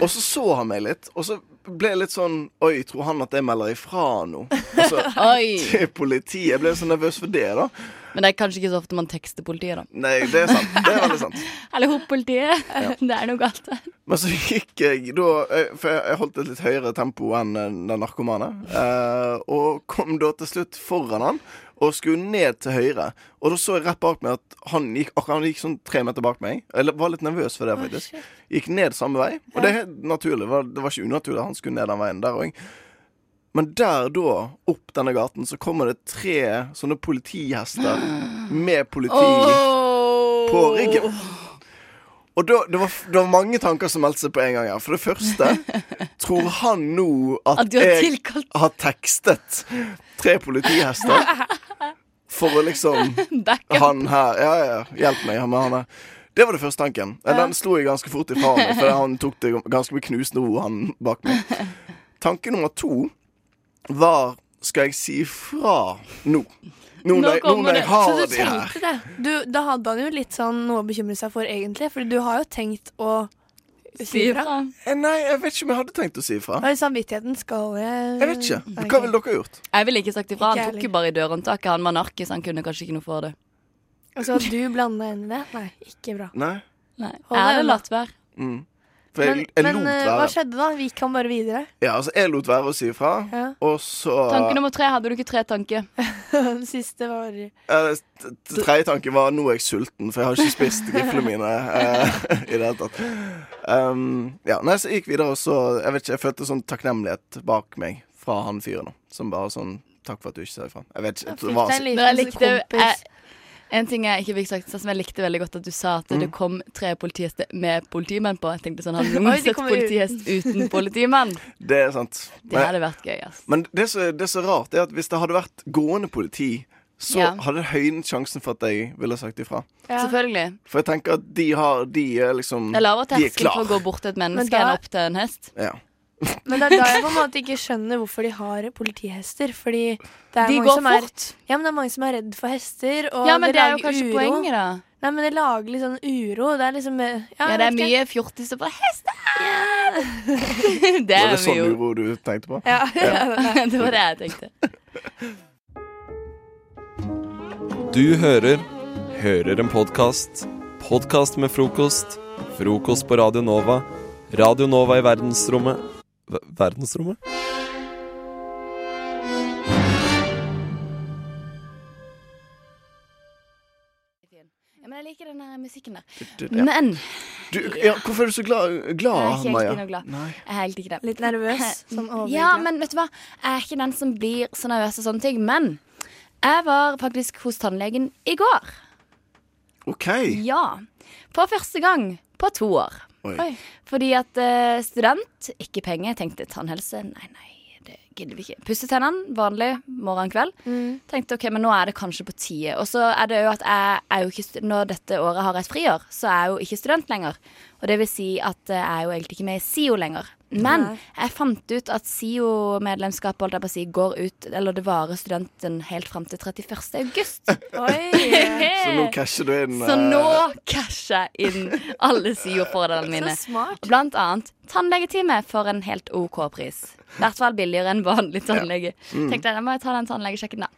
Speaker 12: og så så han meg litt, og så ble jeg litt sånn Oi, tror han at jeg melder ifra nå? Altså,
Speaker 16: Oi.
Speaker 12: til politiet. Jeg ble så nervøs for det, da.
Speaker 16: Men det er kanskje ikke så ofte man tekster politiet, da.
Speaker 12: Nei, det er sant. Det er veldig sant.
Speaker 16: Eller hopp politiet. Det er noe galt der.
Speaker 12: Men så gikk jeg da eh, For jeg- jeg holdt et litt høyere tempo enn eh, den narkomane. eh, Og kom da til slutt foran han og skulle ned til høyre. Og da så jeg rett bak meg at han gikk, akkurat- han gikk sånn tre meter bak meg. Jeg var litt nervøs for det,
Speaker 15: Å,
Speaker 12: faktisk.
Speaker 15: shit.
Speaker 12: Gikk ned samme vei. Og det er helt naturlig. det var- Det var ikke unaturlig at han skulle ned den veien der òg. Men der da, opp denne gaten, så kommer det tre sånne politihester med politi på ryggen. Og da, det, var, det var mange tanker som meldte seg på en gang her. For det første tror han nå at,
Speaker 16: At du har
Speaker 12: jeg
Speaker 16: tilkalt-
Speaker 12: har tekstet tre politihester for å liksom Han her Ja, ja, ja, hjelp meg. Han, han her. Det var det første tanken. Eh, Den slo jeg ganske fort ifra meg, for han tok det ganske med knusende ro, han bak meg. Tanke nummer to var Skal jeg si fra nå? Nå når jeg, nå når jeg har
Speaker 15: Så du
Speaker 12: de her.
Speaker 15: tenkte det. Du, da hadde han jo litt sånn noe å bekymre seg for, egentlig. For du har jo tenkt å si
Speaker 12: Si
Speaker 15: ifra.
Speaker 12: Eh, Nei, jeg vet ikke om jeg hadde tenkt å si ifra.
Speaker 15: Og i samvittigheten skal jeg
Speaker 12: Jeg vet
Speaker 15: Mm.
Speaker 12: ikke. Hva ville dere gjort?
Speaker 16: Jeg ville ikke sagt ifra.
Speaker 15: Ikke
Speaker 16: Han
Speaker 15: jeg
Speaker 16: tok jo bare i dørhåndtaket. Han var narkis, han kunne kanskje ikke noe for det.
Speaker 15: Altså, du blanda inn i det? Nei, ikke bra.
Speaker 12: Nei?
Speaker 16: Nei. Jeg
Speaker 15: Hold deg
Speaker 16: hadde
Speaker 15: unna.
Speaker 16: latt være.
Speaker 12: Mm. For jeg,
Speaker 15: Men,
Speaker 12: jeg
Speaker 15: men
Speaker 12: lot
Speaker 15: eh,
Speaker 12: være.
Speaker 15: hva skjedde da? Vi kan bare videre.
Speaker 12: Ja, altså, jeg lot være å si ifra,
Speaker 15: Ja.
Speaker 12: og så
Speaker 16: Tanke nummer tre. Hadde du ikke tre tanker?
Speaker 15: Den siste var
Speaker 12: Eh, t- t- Tredje tanke var nå er jeg sulten, for jeg har ikke spist giflene mine eh, i det hele tatt. Um, ja, nei, så jeg gikk videre, og så Jeg vet ikke, jeg følte sånn takknemlighet bak meg fra han fyren. da, Som bare sånn Takk for at du ikke sa ifra. Jeg vet ikke. Det var,
Speaker 16: altså- Men jeg likte, jeg, en ting jeg ikke fikk sagt, som jeg likte veldig godt, at du sa at
Speaker 12: Mm.
Speaker 16: det kom tre politihester med politimenn på. Jeg tenkte sånn, Hadde du
Speaker 15: Oi, de
Speaker 16: sett
Speaker 15: kommer ut.
Speaker 16: politihest uten politimann?
Speaker 12: det er sant.
Speaker 16: Det hadde vært gøy, altså. ass.
Speaker 12: Men det som det som er rart, er at hvis det hadde vært gående politi, så
Speaker 16: Ja.
Speaker 12: hadde det høynet sjansen for at jeg ville sagt ifra.
Speaker 16: Selvfølgelig.
Speaker 12: For jeg tenker at de har De er liksom
Speaker 16: Det er lavere
Speaker 12: De er
Speaker 16: terskel
Speaker 12: klar.
Speaker 16: for å gå bort til et
Speaker 15: Men
Speaker 16: menneske
Speaker 15: da-
Speaker 16: enn opp til en hest.
Speaker 12: Ja.
Speaker 15: Men det er da jeg på en måte ikke skjønner hvorfor de har politihester. Fordi det er
Speaker 16: De
Speaker 15: mange
Speaker 16: går
Speaker 15: som er,
Speaker 16: fort.
Speaker 15: Ja, men det er mange som er redd for hester. Og
Speaker 16: Ja, men det er jo
Speaker 15: lager
Speaker 16: kanskje
Speaker 15: uro.
Speaker 16: poenget, da.
Speaker 15: Nei, men det lager litt sånn uro. Det er liksom eh,
Speaker 16: Ja, det er
Speaker 15: vet
Speaker 16: mye
Speaker 15: ikke.
Speaker 16: fjortiser på hester! det
Speaker 12: Var
Speaker 16: er
Speaker 12: det
Speaker 16: vi
Speaker 12: sånn
Speaker 16: jo.
Speaker 12: uro du tenkte på?
Speaker 15: Ja,
Speaker 16: det var det jeg tenkte.
Speaker 6: Du hører Hører en podkast. Podkast med frokost. Frokost på Radio Nova. Radio Nova i verdensrommet Ver- Verdensrommet?
Speaker 16: Ja, men jeg liker den der musikken der.
Speaker 12: Du- ja.
Speaker 16: Men
Speaker 12: du, ja, Hvorfor er du så glad, glad
Speaker 16: jeg er ikke
Speaker 12: Maja?
Speaker 16: helt noe glad.
Speaker 12: Nei.
Speaker 16: Jeg er helt ikke det. Eh,
Speaker 15: Litt nervøs, sånn overgrep.
Speaker 16: ja, men vet du hva? Jeg er ikke den som blir så nervøs og sånne ting. Men jeg var faktisk hos tannlegen i går.
Speaker 12: OK.
Speaker 16: Ja. For første gang på to år.
Speaker 12: Oi.
Speaker 16: Fordi at eh, student, ikke penger. Jeg tenkte tannhelse, nei, nei, det gidder vi ikke. Pusse tennene, vanlig morgen kveld. Tenkte ok, men nå er det kanskje på tide. Og så er det jo at jeg er jo ikke stu- Når dette året har et friår, så er jeg jo ikke student lenger. Og det vil si at eh, jeg er jo egentlig ikke med i SIO lenger. Men
Speaker 15: Nei.
Speaker 16: jeg fant ut at SIO-medlemskapet holdt jeg på å si, går ut, eller det varer studenten helt fram til 31. august.
Speaker 12: Så nå casher du inn
Speaker 16: Så nå
Speaker 12: eh,
Speaker 16: casher jeg inn alle SIO-fordelene mine.
Speaker 15: Så smart.
Speaker 16: Blant annet tannlegetime for en helt OK pris. I hvert fall billigere enn vanlig tannlege.
Speaker 15: Ja. Mm.
Speaker 16: Tenkte jeg, da må jeg ta den tannlegesjekken, da.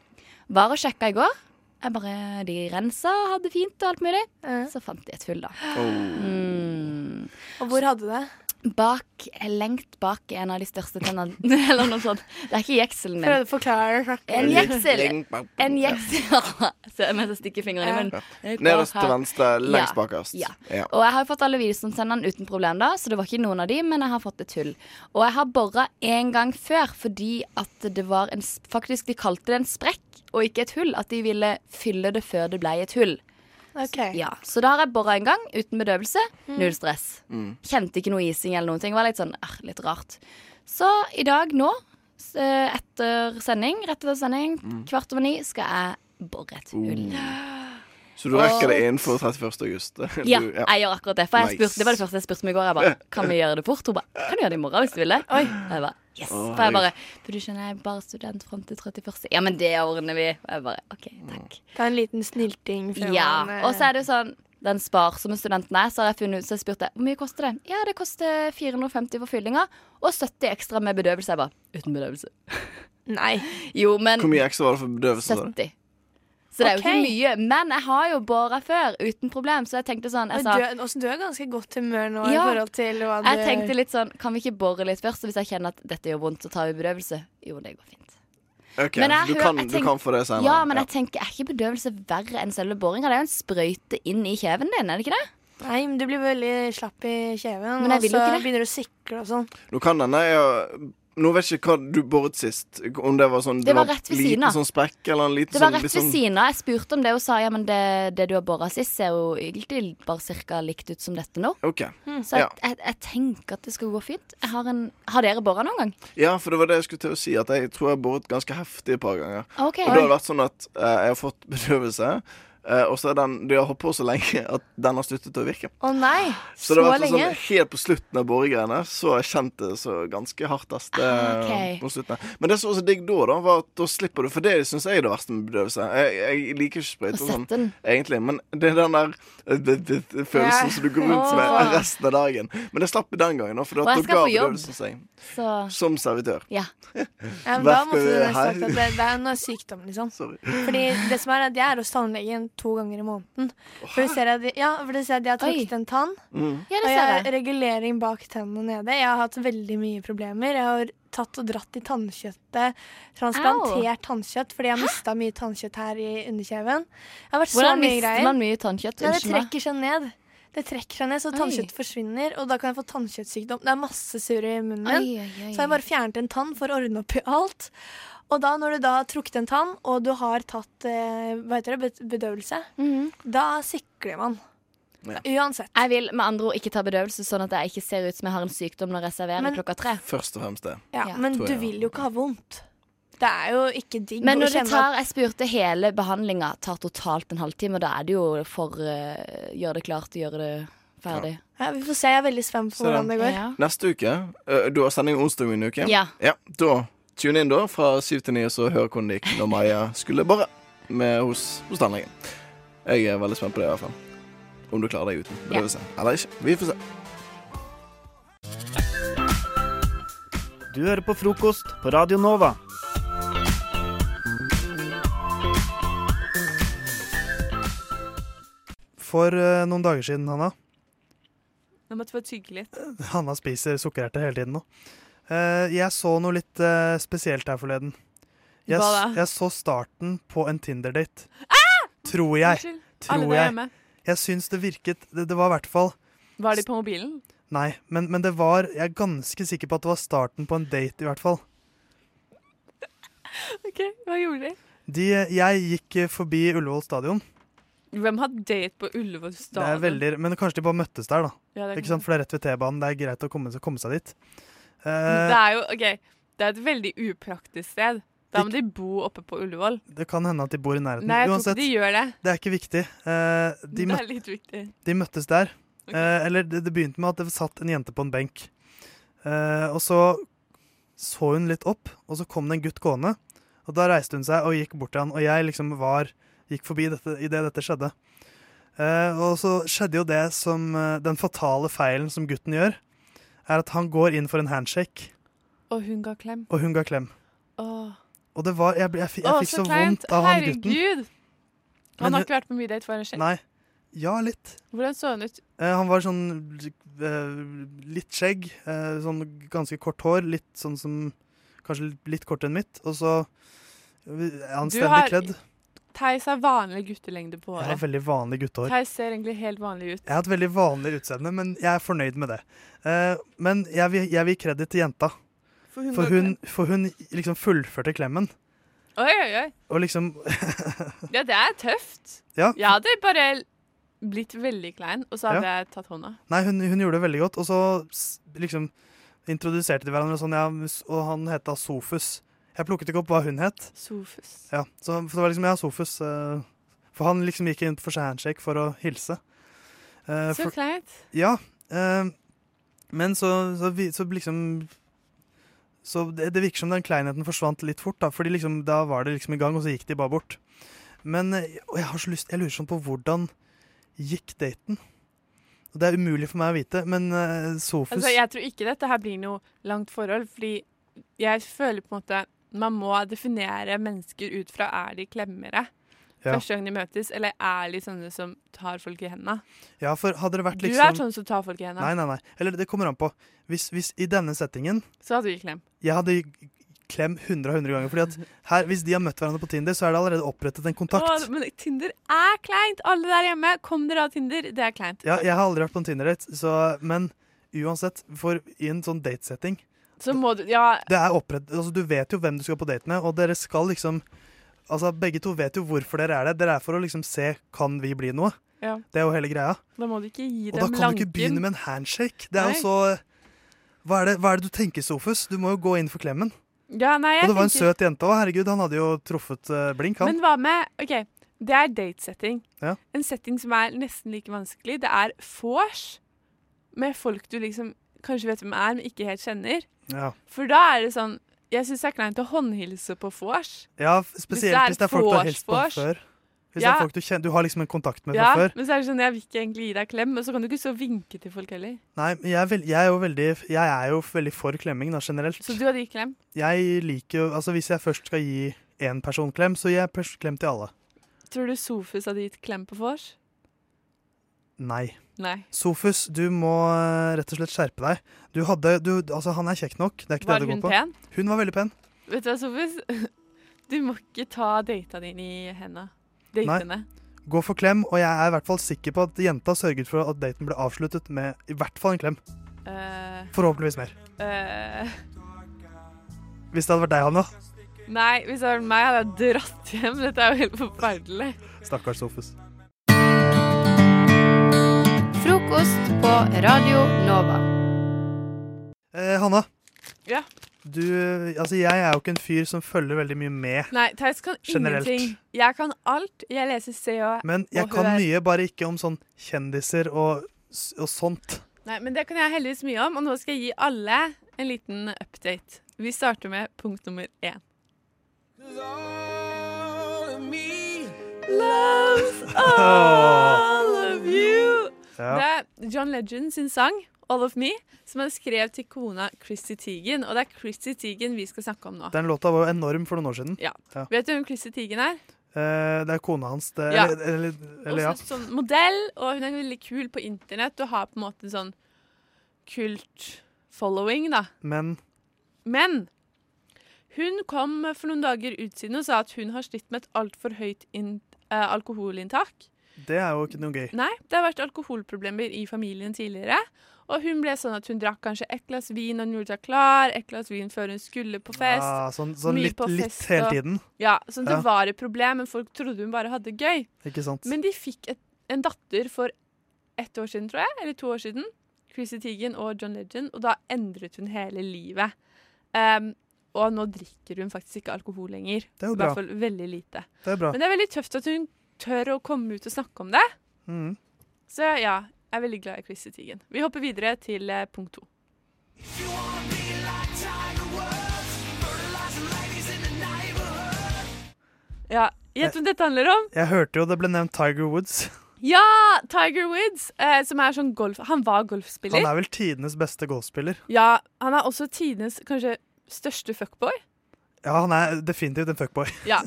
Speaker 16: Var og sjekka i går. Jeg bare, De rensa, hadde fint og alt mulig. Så fant de et hull, da.
Speaker 10: Oh.
Speaker 16: Mm.
Speaker 15: Og hvor hadde du det?
Speaker 16: Bak, Lengt bak en av de største tennene. Eller noe sånt. Det er ikke jekselen min.
Speaker 15: Prøvde å forklare.
Speaker 16: En jeksel. En jeksel. Se, Mens jeg stikker fingrene i munnen. Jeg går
Speaker 12: Nederst til
Speaker 16: her.
Speaker 12: venstre, lengst
Speaker 16: Ja,
Speaker 12: bakerst.
Speaker 16: Ja.
Speaker 12: Ja.
Speaker 16: Og jeg har jo fått alle visumsenderne uten problem, da, så det var ikke noen av de, men jeg har fått et hull. Og jeg har bora én gang før fordi at det var en s- Faktisk, de kalte det en sprekk og ikke et hull. At de ville fylle det før det ble et hull. Ja, Så da har jeg bora en gang uten bedøvelse.
Speaker 15: Mm.
Speaker 16: Null stress.
Speaker 15: Mm.
Speaker 16: Kjente ikke noe ising eller noen ting. Det var litt sånn «Ah, litt rart. Så i dag nå, s- eh, etter sending, rett etter sending,
Speaker 12: Mm.
Speaker 16: kvart over ni, skal jeg bore et hull.
Speaker 12: Oh. Så du rekker det
Speaker 16: Og-
Speaker 12: innenfor 31. august? Du-
Speaker 16: Ja, jeg gjør akkurat det. For jeg
Speaker 12: Nice.
Speaker 16: spurte, det var det første jeg spurte om i går. Jeg bare, Kan vi gjøre det fort? Hun bare Kan du gjøre det i morgen hvis du vil det? Oi. Og jeg bare, yes.
Speaker 15: Å,
Speaker 16: For jeg bare For du skjønner, jeg er bare student fram til 31. Ja, men det ordner vi. Og jeg bare OK, takk.
Speaker 15: Ta en liten snilting før man
Speaker 16: Ja.
Speaker 15: eh,
Speaker 16: Og så er det jo sånn den sparsomme studenten er, så har jeg funnet ut, så jeg spurte hvor mye koster det. Ja, det koster 450 for fyllinga og 70 ekstra med bedøvelse. Jeg bare uten bedøvelse. Nei. Jo, men
Speaker 12: Hvor mye ekstra var det for bedøvelse? da?
Speaker 16: 70. Så det er jo
Speaker 15: Ok.
Speaker 16: ikke mye. Men jeg har jo båra før uten problem, så jeg tenkte sånn
Speaker 15: Men
Speaker 16: jeg
Speaker 15: du,
Speaker 16: sa,
Speaker 15: er- også, du er i ganske godt humør nå
Speaker 16: Ja.
Speaker 15: i forhold til hva du
Speaker 16: jeg tenkte litt sånn, kan vi ikke bore litt først? Og hvis jeg kjenner at dette gjør vondt, så tar vi bedøvelse. Jo, det går fint.
Speaker 12: Ok,
Speaker 16: Men
Speaker 12: så
Speaker 16: jeg
Speaker 12: du,
Speaker 16: hø-
Speaker 12: kan,
Speaker 16: jeg
Speaker 12: du
Speaker 16: tenk-
Speaker 12: kan få det senere.
Speaker 16: Ja, men jeg tenker, er ikke bedøvelse verre enn selve boringa? Det er jo en sprøyte inn i kjeven din, er det ikke det?
Speaker 15: Nei, men du blir veldig slapp i kjeven,
Speaker 16: Men jeg
Speaker 15: og
Speaker 16: vil jo
Speaker 15: så
Speaker 16: ikke det.
Speaker 15: begynner du å sikle og sånn.
Speaker 12: Nå kan den, jeg, nå vet jeg ikke hva du boret sist. Om det var sånn
Speaker 16: Det var
Speaker 12: du
Speaker 16: rett ved siden
Speaker 12: liten
Speaker 16: av.
Speaker 12: sånn sprekk eller en liten
Speaker 16: Det var
Speaker 12: sånn,
Speaker 16: rett
Speaker 12: litt
Speaker 16: ved
Speaker 12: sånn-
Speaker 16: siden av. Jeg spurte om det, og sa ja, men det, det du har bora sist, ser jo egentlig bare cirka likt ut som dette nå.
Speaker 12: Ok.
Speaker 15: Hmm.
Speaker 16: Så jeg,
Speaker 12: Ja.
Speaker 16: jeg, jeg tenker at det skal gå fint. Jeg har, en, har dere bora noen gang?
Speaker 12: Ja, for det var det jeg skulle til å si, at jeg tror jeg har boret ganske heftig et par ganger.
Speaker 16: Ok.
Speaker 12: Og det har
Speaker 16: Oi.
Speaker 12: vært sånn at eh, jeg har fått bedøvelse, eh, og så er den De har holdt på så lenge at den har sluttet å virke.
Speaker 15: Å nei,
Speaker 12: Så
Speaker 15: så,
Speaker 12: det har vært
Speaker 15: lenge.
Speaker 12: sånn helt på slutten av boregreiene, så har jeg kjent det så ganske hardest. eh,
Speaker 15: Ah, ok.
Speaker 12: på slutten. Men det som også er digg da, da, var at da slipper du For det syns jeg er det verste med bedøvelse. Jeg, jeg liker ikke sprøyter
Speaker 16: Å
Speaker 12: og
Speaker 16: sette den.
Speaker 12: sånn, egentlig, men det er den der eh, det- det- det-
Speaker 16: Ja.
Speaker 12: følelsen som du går rundt
Speaker 16: Åh.
Speaker 12: med resten av dagen. Men det slapp jeg den gangen, da, for
Speaker 16: Og
Speaker 12: da
Speaker 16: jeg skal
Speaker 12: ga
Speaker 16: på jobb.
Speaker 12: bedøvelsen seg.
Speaker 16: Så
Speaker 12: Som servitør.
Speaker 16: ja.
Speaker 15: Ja, men da
Speaker 12: Verker
Speaker 15: måtte du
Speaker 12: det
Speaker 15: nesten sagt
Speaker 12: her?
Speaker 15: at det, det er noe sykdom, liksom. Fordi det som er at Jeg er hos tannlegen to ganger i måneden. For du ser at, jeg- ja, for du ser at jeg har trukket en tann.
Speaker 12: Mm.
Speaker 16: Ja, det
Speaker 15: og
Speaker 16: ser
Speaker 15: jeg har
Speaker 16: jeg.
Speaker 15: regulering bak tennene nede. Jeg har hatt veldig mye problemer. Jeg har tatt og dratt i tannkjøttet. Transplantert tannkjøtt fordi jeg mista mye tannkjøtt her i underkjeven. Det har vært så
Speaker 16: Hvordan
Speaker 15: mye
Speaker 16: mister
Speaker 15: greier.
Speaker 16: man mye tannkjøtt?
Speaker 15: Ja, det
Speaker 16: Unnskyld meg.
Speaker 15: trekker seg ned. Det trekker seg ned, Så tannkjøttet forsvinner, og da kan jeg få tannkjøttsykdom. Det er masse surr i munnen min.
Speaker 16: Oi, oi, oi.
Speaker 15: Så har jeg bare fjernet en tann for å ordne opp i alt. Og da når du da har trukket en tann, og du har tatt eh, hva heter det, bed- bedøvelse,
Speaker 16: Mm.
Speaker 15: da sikler man. Uansett.
Speaker 16: Jeg vil med andre ord ikke ta bedøvelse, sånn at jeg ikke ser ut som jeg har en sykdom når jeg serverer
Speaker 15: Men-
Speaker 16: klokka tre.
Speaker 12: Først og fremst det.
Speaker 15: Ja,
Speaker 16: Ja.
Speaker 15: Men
Speaker 12: Tror
Speaker 15: du
Speaker 12: jeg,
Speaker 15: vil jo ikke ha vondt. Det er jo ikke digg
Speaker 16: Men
Speaker 15: å
Speaker 16: når det
Speaker 15: kjenne
Speaker 16: tar,
Speaker 15: at
Speaker 16: jeg spurte hele behandlinga tar totalt en halvtime, og da er det jo for eh, gjøre det klart og gjøre det ferdig.
Speaker 15: ja, Vi får se, jeg er veldig spent på
Speaker 12: Så da-
Speaker 15: hvordan det går.
Speaker 12: Neste uke eh, Du har sending onsdag min uke.
Speaker 15: Ja.
Speaker 12: Da tune inn da fra syv til ni, og så hør hvordan det gikk når Maja skulle bare med hos, hos tannlegen. Jeg er veldig spent på det, i hvert fall. Om du klarer deg uten
Speaker 16: Ja.
Speaker 12: bedøvelse eller ikke. Vi får se.
Speaker 1: Du hører på frokost på Radio Nova.
Speaker 5: For eh, noen dager siden, Hanna
Speaker 17: Nå måtte vi tygge litt.
Speaker 5: Hanna spiser sukkererter hele tiden nå. Eh, jeg så noe litt eh, spesielt her forleden. Jeg,
Speaker 17: Hva da? Ah!
Speaker 5: s- jeg så starten på en Tinder-date. Tror jeg.
Speaker 17: Unnskyld.
Speaker 5: Tror
Speaker 17: Alle der
Speaker 5: jeg.
Speaker 17: hjemme.
Speaker 5: Jeg syns det virket Det, det var i hvert fall
Speaker 17: Var de på mobilen?
Speaker 5: Nei, men, men det var Jeg er ganske sikker på at det var starten på en date, i hvert fall.
Speaker 17: Ok, Hva gjorde de?
Speaker 5: De, jeg gikk eh, forbi Ullevål stadion.
Speaker 17: Hvem har date på Ullevål
Speaker 5: Det er
Speaker 17: stadion?
Speaker 5: veldig, men kanskje de bare møttes der, da.
Speaker 17: Ja, det er
Speaker 5: ikke sant? For det er rett ved T-banen. Det er greit å komme, komme seg dit. Eh,
Speaker 17: Det er jo ok, det er et veldig upraktisk sted. Da må de bo oppe på Ullevål.
Speaker 5: det kan hende at de bor i nærheten.
Speaker 17: Nei, jeg tror ikke de gjør det.
Speaker 5: Det er ikke viktig. Eh, de,
Speaker 17: det
Speaker 5: møt-
Speaker 17: er litt viktig.
Speaker 5: de møttes der. Eh, eller det, det begynte med at det satt en jente på en benk. Eh, og så så hun litt opp, og så kom det en gutt gående. Og da reiste hun seg og gikk bort til han, og jeg liksom var, gikk forbi dette, i det dette skjedde. Eh, og så skjedde jo det som eh, den fatale feilen som gutten gjør, er at han går inn for en handshake,
Speaker 17: Og hun ga klem.
Speaker 5: og hun ga klem.
Speaker 17: Åh,
Speaker 5: Og det var, jeg, ble- jeg, fi- jeg
Speaker 17: Åh,
Speaker 5: fikk så,
Speaker 17: kleint.
Speaker 5: vondt av han gutten.
Speaker 17: Herregud! Han
Speaker 5: Men
Speaker 17: har
Speaker 5: hun-
Speaker 17: ikke vært på middag for en skjell.
Speaker 5: Nei. Ja, litt.
Speaker 17: Hvordan så han ut?
Speaker 5: Eh, han var sånn eh, litt skjegg, eh, sånn ganske kort hår, litt sånn som Kanskje litt kortere enn mitt, og så eh,
Speaker 17: Du
Speaker 5: anstendig
Speaker 17: har-
Speaker 5: kledd.
Speaker 17: Theis har vanlig guttelengde på
Speaker 5: Jeg har
Speaker 17: håret.
Speaker 5: veldig vanlig guttehår.
Speaker 17: Theis ser egentlig helt vanlig ut.
Speaker 5: Jeg har et veldig vanlig utseende, men jeg er fornøyd med det. Eh, men jeg vil, jeg vil gi kreditt til jenta.
Speaker 17: For hun
Speaker 5: For
Speaker 17: ga
Speaker 5: hun, for hun liksom fullførte klemmen.
Speaker 17: Oi, oi, oi.
Speaker 5: Og liksom
Speaker 17: Ja, det er tøft.
Speaker 5: Ja.
Speaker 17: Jeg hadde bare blitt veldig klein, og så hadde
Speaker 5: Ja.
Speaker 17: jeg tatt hånda.
Speaker 5: Nei, hun, hun gjorde det veldig godt. Og så s- liksom introduserte de hverandre og sånn, ja, s- og han het da Sofus. Jeg plukket ikke opp hva hun het.
Speaker 17: Sofus.
Speaker 5: Ja, så, for det var liksom ja, Sofus. eh, for han liksom gikk inn for seg handshake for å hilse. Eh,
Speaker 17: Så
Speaker 5: for-
Speaker 17: kleint.
Speaker 5: Ja. eh, men så, så, vi- så liksom Så det, det virker som den kleinheten forsvant litt fort, da. Fordi liksom, da var det liksom i gang, og så gikk de bare bort. Men eh, og jeg har så lyst Jeg lurer sånn på hvordan gikk daten? Og det er umulig for meg å vite, men eh, Sofus
Speaker 17: Altså, jeg tror ikke dette her blir noe langt forhold, fordi jeg føler på en måte man må definere mennesker ut fra er de klemmere
Speaker 5: Ja.
Speaker 17: første gang de møtes, eller er de sånne som tar folk i hendene.
Speaker 5: Ja, for hadde det vært liksom
Speaker 17: Du er sånn som tar folk i hendene.
Speaker 5: Nei, nei, nei. Eller det kommer an på. Hvis, hvis i denne settingen
Speaker 17: Så hadde du gitt klem.
Speaker 5: Jeg hadde g- klem 100 av 100 ganger. Fordi at her, Hvis de har møtt hverandre på Tinder, så er det allerede opprettet en kontakt.
Speaker 17: Å, men Tinder er kleint! Alle der hjemme, kom dere av Tinder. Det er kleint.
Speaker 5: Ja, jeg har aldri vært på en Tinder-date, så- men uansett, for i en sånn datesetting
Speaker 17: Så må du Ja,
Speaker 5: Det er opprettet altså, Du vet jo hvem du skal på date med, og dere skal liksom Altså, Begge to vet jo hvorfor dere er der. Dere er for å liksom se kan vi bli noe.
Speaker 17: ja.
Speaker 5: Det er jo hele greia.
Speaker 17: Da må du ikke gi
Speaker 5: Og
Speaker 17: dem
Speaker 5: da
Speaker 17: lanken.
Speaker 5: kan du ikke begynne med en handshake. Det er
Speaker 17: Nei.
Speaker 5: jo så hva er, det, hva er det du tenker, Sofus? Du må jo gå inn for klemmen.
Speaker 17: ja, nei, jeg
Speaker 5: og det var en
Speaker 17: tenker-
Speaker 5: søt jente òg. Herregud, han hadde jo truffet eh, blink, han.
Speaker 17: Men hva med OK, det er datesetting.
Speaker 5: Ja.
Speaker 17: En setting som er nesten like vanskelig. Det er vors med folk du liksom kanskje vet hvem er, men ikke helt kjenner.
Speaker 5: Ja.
Speaker 17: For da er det sånn Jeg syns det er kleint å håndhilse på vors.
Speaker 5: ja, f- spesielt
Speaker 17: er
Speaker 5: hvis det er folk du har
Speaker 17: vors,
Speaker 5: hilst på
Speaker 17: vors.
Speaker 5: før. Hvis det
Speaker 17: Ja.
Speaker 5: er folk du kjenner Du har liksom en kontakt med
Speaker 17: Ja,
Speaker 5: fra før.
Speaker 17: men så er det sånn Jeg vil ikke egentlig gi deg klem, men så kan du ikke så vinke til folk heller.
Speaker 5: Nei, men jeg er, vel- jeg er jo veldig Jeg er jo veldig for klemming, da, generelt.
Speaker 17: Så du hadde gitt klem.
Speaker 5: Jeg liker jo Altså, hvis jeg først skal gi én person klem, så gir jeg først klem til alle.
Speaker 17: Tror du Sofus hadde gitt klem på vors?
Speaker 5: Nei.
Speaker 17: Nei.
Speaker 5: Sofus, du må eh, rett og slett skjerpe deg. Du hadde du, Altså, han er kjekk nok. Det er ikke
Speaker 17: Var
Speaker 5: det det
Speaker 17: hun
Speaker 5: går på.
Speaker 17: pen?
Speaker 5: Hun var veldig pen.
Speaker 17: Vet du hva, Sofus? Du må ikke ta data dine i henda. Datene.
Speaker 5: Gå for klem, og jeg er i hvert fall sikker på at jenta sørget for at daten ble avsluttet med i hvert fall en klem.
Speaker 17: Eh,
Speaker 5: Forhåpentligvis mer.
Speaker 17: eh,
Speaker 5: Hvis det hadde vært deg, Hanna.
Speaker 17: Nei, hvis det var meg, hadde jeg dratt hjem. Dette er jo helt forferdelig.
Speaker 5: Stakkars Sofus.
Speaker 7: Frokost på Radio Nova.
Speaker 5: Eh, Hanna,
Speaker 17: Ja.
Speaker 5: du Altså, jeg er jo ikke en fyr som følger veldig mye med.
Speaker 17: Nei, Theis kan
Speaker 5: Generelt.
Speaker 17: ingenting. Jeg kan alt. Jeg leser Se og
Speaker 5: Men jeg
Speaker 17: og
Speaker 5: kan
Speaker 17: Hør.
Speaker 5: mye, bare ikke om sånn kjendiser og, s- og sånt.
Speaker 17: Nei, men det kan jeg heldigvis mye om, og nå skal jeg gi alle en liten update. Vi starter med punkt nummer én. Loves all of you.
Speaker 8: Ja.
Speaker 17: Det er John Legend sin sang All of Me, som han skrev til kona Chrissy Teigen. Og det er Chrissy Teigen vi skal snakke om nå.
Speaker 5: Den låta var jo enorm for noen år siden.
Speaker 17: Ja. Vet du hvem Chrissy Teigen er?
Speaker 5: Eh, det er kona hans, det.
Speaker 17: Ja.
Speaker 5: Eller, eller, eller ja.
Speaker 17: Også sånn modell, og hun er veldig kul på internett og har på en måte sånn kult following, da.
Speaker 5: Men
Speaker 17: Men hun kom for noen dager ut siden og sa at hun har slitt med et altfor høyt in eh, alkoholinntak.
Speaker 5: det er jo ikke noe gøy.
Speaker 17: Nei, det har vært alkoholproblemer i familien tidligere. Og hun ble sånn at hun drakk kanskje ett glass vin når hun gjorde seg klar, ett glass vin før hun skulle på fest.
Speaker 5: Ah, sånn- sånn
Speaker 17: mye
Speaker 5: litt-
Speaker 17: på
Speaker 5: litt
Speaker 17: fest
Speaker 5: hele
Speaker 17: og-
Speaker 5: tiden.
Speaker 17: Ja, sånn at
Speaker 5: Ja.
Speaker 17: det var et problem, men folk trodde hun bare hadde det gøy.
Speaker 5: Ikke sant?
Speaker 17: Men de fikk et, en datter for ett år siden, tror jeg, eller to år siden. Chrissy Teigen og John Legend, og da endret hun hele livet. Ehm, og nå drikker hun faktisk ikke alkohol lenger.
Speaker 5: Det er jo
Speaker 17: I
Speaker 5: bra.
Speaker 17: hvert fall veldig lite.
Speaker 5: Det er bra.
Speaker 17: Men det er veldig tøft at hun tør å komme ut og snakke om det.
Speaker 5: Mm.
Speaker 17: Så ja, jeg er veldig glad i Chrissy Teigen. Vi hopper videre til eh, punkt to. Ja, Gjett hvem dette handler om?
Speaker 5: Jeg hørte jo det ble nevnt Tiger Woods.
Speaker 17: Ja! Tiger Woods, eh, som er sånn golf... Han var golfspiller.
Speaker 5: Han er vel tidenes beste golfspiller.
Speaker 17: Ja, han er også tidenes kanskje største fuckboy.
Speaker 5: Ja, han er definitivt en fuckboy.
Speaker 17: Ja.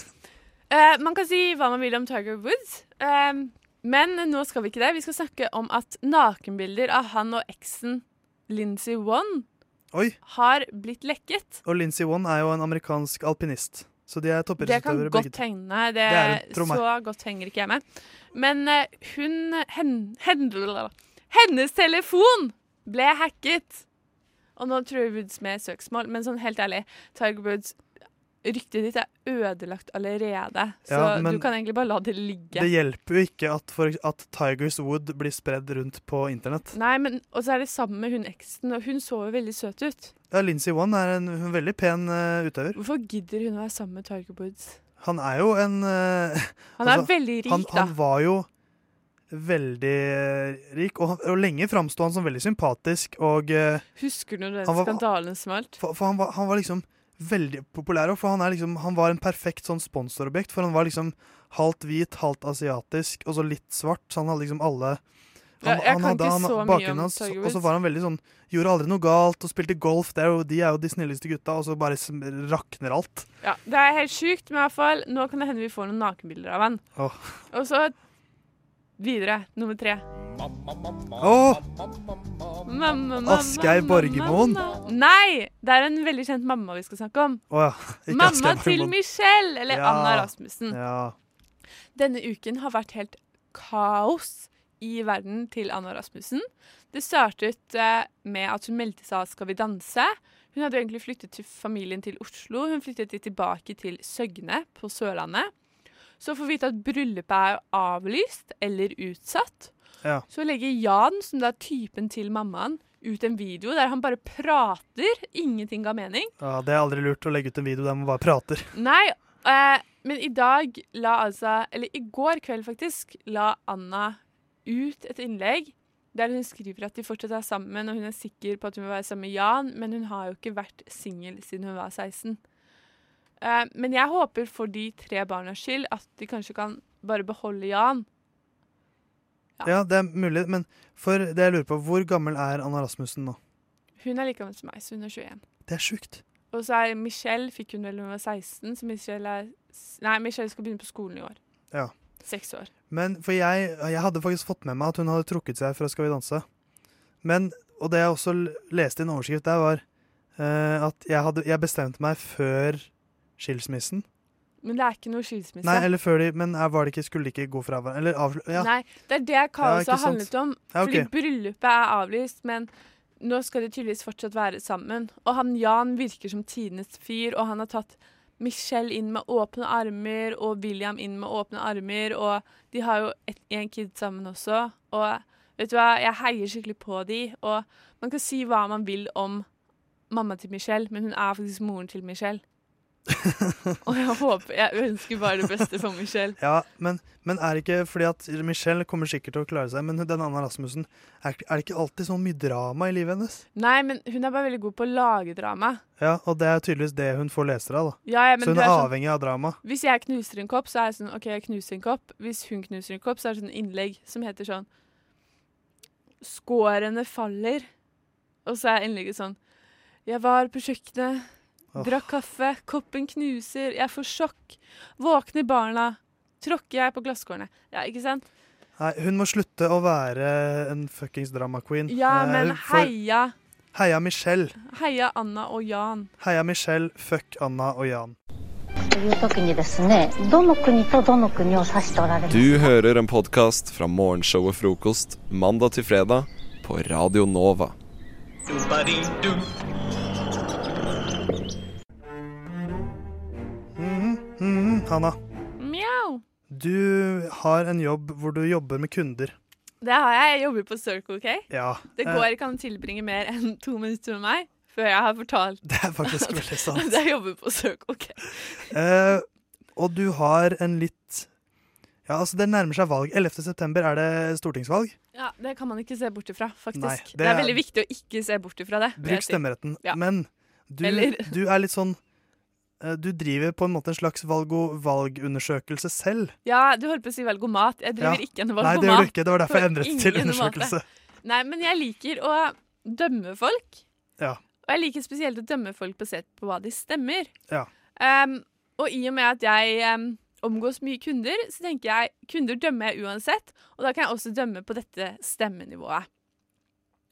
Speaker 17: Eh, man kan si hva man vil om Tiger Woods, eh, men nå skal vi ikke det. Vi skal snakke om at nakenbilder av han og eksen Lincy Won
Speaker 5: Oi.
Speaker 17: har blitt lekket.
Speaker 5: Og Lincy Won er jo en amerikansk alpinist, så de er
Speaker 17: Det kan
Speaker 5: toppidrettsutøvere begge
Speaker 17: godt
Speaker 5: to.
Speaker 17: hende. Nei,
Speaker 5: Det er
Speaker 17: Det
Speaker 5: det, tro meg.
Speaker 17: så godt henger ikke jeg med. Men eh, hun hen, hen, Hennes telefon ble hacket! Og nå truer Woods med søksmål, men sånn helt ærlig, Tiger Woods Ryktet ditt er ødelagt allerede, så
Speaker 5: Ja, men
Speaker 17: du kan egentlig bare la det ligge.
Speaker 5: Det hjelper jo ikke at, for, at Tigers Wood blir spredd rundt på internett.
Speaker 17: Nei, men, Og så er det sammen med hun eksen, og hun så jo veldig søt ut.
Speaker 5: Ja, Lincy Won er en, hun er en veldig pen eh, utøver.
Speaker 17: Hvorfor gidder hun å være sammen med Tiger Woods?
Speaker 5: Han er jo en eh,
Speaker 17: Han er veldig rik,
Speaker 5: han,
Speaker 17: da.
Speaker 5: Han var jo veldig eh, rik, og, han- og lenge framsto han som veldig sympatisk. Og eh,
Speaker 17: Husker du når den
Speaker 5: Han var-
Speaker 17: skandalen smalt?
Speaker 5: for, for han, var, han var liksom veldig populær. og For han, er liksom, han var en perfekt sånn sponsorobjekt. For han var liksom halvt hvit, halvt asiatisk og så litt svart. Så han hadde liksom alle
Speaker 17: Ja, jeg kan ikke så mye om
Speaker 5: bakgrunnen hans,
Speaker 17: Tiger
Speaker 5: Og
Speaker 17: Woods.
Speaker 5: så var han veldig sånn Gjorde aldri noe galt og spilte golf. Det er jo, de er jo de snilleste gutta, og så bare sm- rakner alt.
Speaker 17: Ja, Det er helt sjukt, men i hvert fall, nå kan det hende vi får noen nakenbilder av han.
Speaker 5: Åh.
Speaker 17: Og så videre, nummer tre.
Speaker 5: Åh,
Speaker 17: Mamma, mamma,
Speaker 5: Asgeir
Speaker 17: mamma.
Speaker 5: Borgermoen!
Speaker 17: Nei! Det er en veldig kjent mamma vi skal snakke om.
Speaker 5: Å ja. ikke
Speaker 17: Mamma
Speaker 5: Asgeir
Speaker 17: til
Speaker 5: Borgermoen.
Speaker 17: Michelle, eller
Speaker 5: Ja,
Speaker 17: Anna Rasmussen.
Speaker 5: Ja.
Speaker 17: Denne uken har vært helt kaos i verden til Anna Rasmussen. Det startet eh, med at hun meldte seg av Skal vi danse. Hun hadde jo egentlig flyttet til familien til Oslo. Hun flyttet de tilbake til Søgne på Sørlandet. Så får vi vite at bryllupet er avlyst eller utsatt.
Speaker 5: Ja.
Speaker 17: Så legger Jan, som da er typen til mammaen, ut en video der han bare prater. Ingenting ga mening.
Speaker 5: ja, Det er aldri lurt å legge ut en video der man bare prater.
Speaker 17: Nei, eh, men i dag la altså Eller i går kveld, faktisk, la Anna ut et innlegg der hun skriver at de fortsatt er sammen, og hun er sikker på at hun vil være sammen med Jan, men hun har jo ikke vært singel siden hun var 16. Eh, men jeg håper for de tre barnas skyld at de kanskje kan bare beholde Jan.
Speaker 5: Ja. det er mulig, men for det jeg lurer på, hvor gammel er Anna Rasmussen nå?
Speaker 17: Hun er like gammel som meg, så hun er 21.
Speaker 5: Det er sjukt.
Speaker 17: Og så er Michelle fikk hun vel da hun var 16, så Michelle er s- Nei, Michelle skal begynne på skolen i år.
Speaker 5: Ja.
Speaker 17: Seks år.
Speaker 5: Men for jeg, jeg hadde faktisk fått med meg at hun hadde trukket seg fra Skal vi danse. Men, og det jeg også l- leste i en overskrift der, var eh, at jeg, hadde, jeg bestemte meg før skilsmissen.
Speaker 17: Men det er ikke noe skilsmisse.
Speaker 5: Nei, eller før de Men eh, var det ikke, skulle de ikke gå fra hverandre? Eller avslu... Ja.
Speaker 17: Nei, det er det kaoset
Speaker 5: Ja, ikke
Speaker 17: har handlet om.
Speaker 5: sant. Ja, ok.
Speaker 17: Fordi bryllupet er avlyst, men nå skal de tydeligvis fortsatt være sammen. Og han Jan virker som tidenes fyr, og han har tatt Michelle inn med åpne armer, og William inn med åpne armer, og de har jo et, en kid sammen også. Og vet du hva, jeg heier skikkelig på de, og man kan si hva man vil om mamma til Michelle, men hun er faktisk moren til Michelle. og jeg håper, jeg ønsker bare det beste for Michelle.
Speaker 5: Ja, men, men er det ikke fordi at Michelle kommer sikkert til å klare seg, men den Anna Rasmussen Er, er det ikke alltid sånn mye drama i livet hennes?
Speaker 17: Nei, men hun er bare veldig god på å lage drama.
Speaker 5: Ja, og det er tydeligvis det hun får lesere av, da.
Speaker 17: Ja, ja, men
Speaker 5: Så hun
Speaker 17: du
Speaker 5: er,
Speaker 17: er sånn-
Speaker 5: avhengig av drama.
Speaker 17: Hvis jeg knuser en kopp, så er jeg sånn OK, jeg knuser en kopp. Hvis hun knuser en kopp, så er det sånn innlegg som heter sånn Skårene faller. Og så er innlegget sånn Jeg var på kjøkkenet,
Speaker 5: Åh.
Speaker 17: drakk kaffe, koppen knuser, jeg får sjokk. Våkner barna, tråkker jeg på glasskårene. Ja, ikke sant?
Speaker 5: Nei, hun må slutte å være en fuckings drama queen.
Speaker 17: Ja,
Speaker 5: Eh,
Speaker 17: men
Speaker 5: for-
Speaker 17: heia.
Speaker 5: Heia Michelle.
Speaker 17: Heia Anna og Jan.
Speaker 5: Heia Michelle, fuck Anna og Jan.
Speaker 13: という時にですねどの国とどの国を指しておられます
Speaker 6: Du hører en podkast fra morgenshowet Frokost mandag til fredag på Radio Nova.
Speaker 5: Mhm, mhm, Hanna,
Speaker 17: Mjau.
Speaker 5: du har en jobb hvor du jobber med kunder.
Speaker 17: Det har jeg. Jeg jobber på Circle K.
Speaker 5: Ja.
Speaker 17: Det
Speaker 5: eh,
Speaker 17: går ikke an å tilbringe mer enn to minutter med meg før jeg har fortalt
Speaker 5: Det er faktisk veldig sant.
Speaker 17: at jeg jobber på Circle K.
Speaker 5: Eh, og du har en litt Ja, altså, det nærmer seg valg. 11. september er det stortingsvalg.
Speaker 17: Ja, det kan man ikke se bort ifra, faktisk.
Speaker 5: Nei,
Speaker 17: det,
Speaker 5: det
Speaker 17: er
Speaker 5: er-
Speaker 17: veldig viktig å ikke se bort ifra det. vil
Speaker 5: Bruk
Speaker 17: jeg si.
Speaker 5: stemmeretten.
Speaker 17: Ja.
Speaker 5: Men du,
Speaker 17: Eller-
Speaker 5: du er litt sånn eh, du driver på en måte en slags valgo- valgundersøkelse selv.
Speaker 17: Ja, du holdt på å si valgomat. Jeg driver
Speaker 5: Ja.
Speaker 17: ikke en
Speaker 5: Nei,
Speaker 17: valgomat.
Speaker 5: det gjør du ikke. Det var derfor jeg
Speaker 17: På
Speaker 5: endret det til
Speaker 17: ingen måte.
Speaker 5: undersøkelse.
Speaker 17: Nei, men jeg liker å dømme folk.
Speaker 5: Ja.
Speaker 17: Og jeg liker spesielt å dømme folk basert på hva de stemmer.
Speaker 5: Ja.
Speaker 17: Ehm, og i og med at jeg ehm, omgås mye kunder, så tenker jeg kunder dømmer jeg uansett, og da kan jeg også dømme på dette stemmenivået.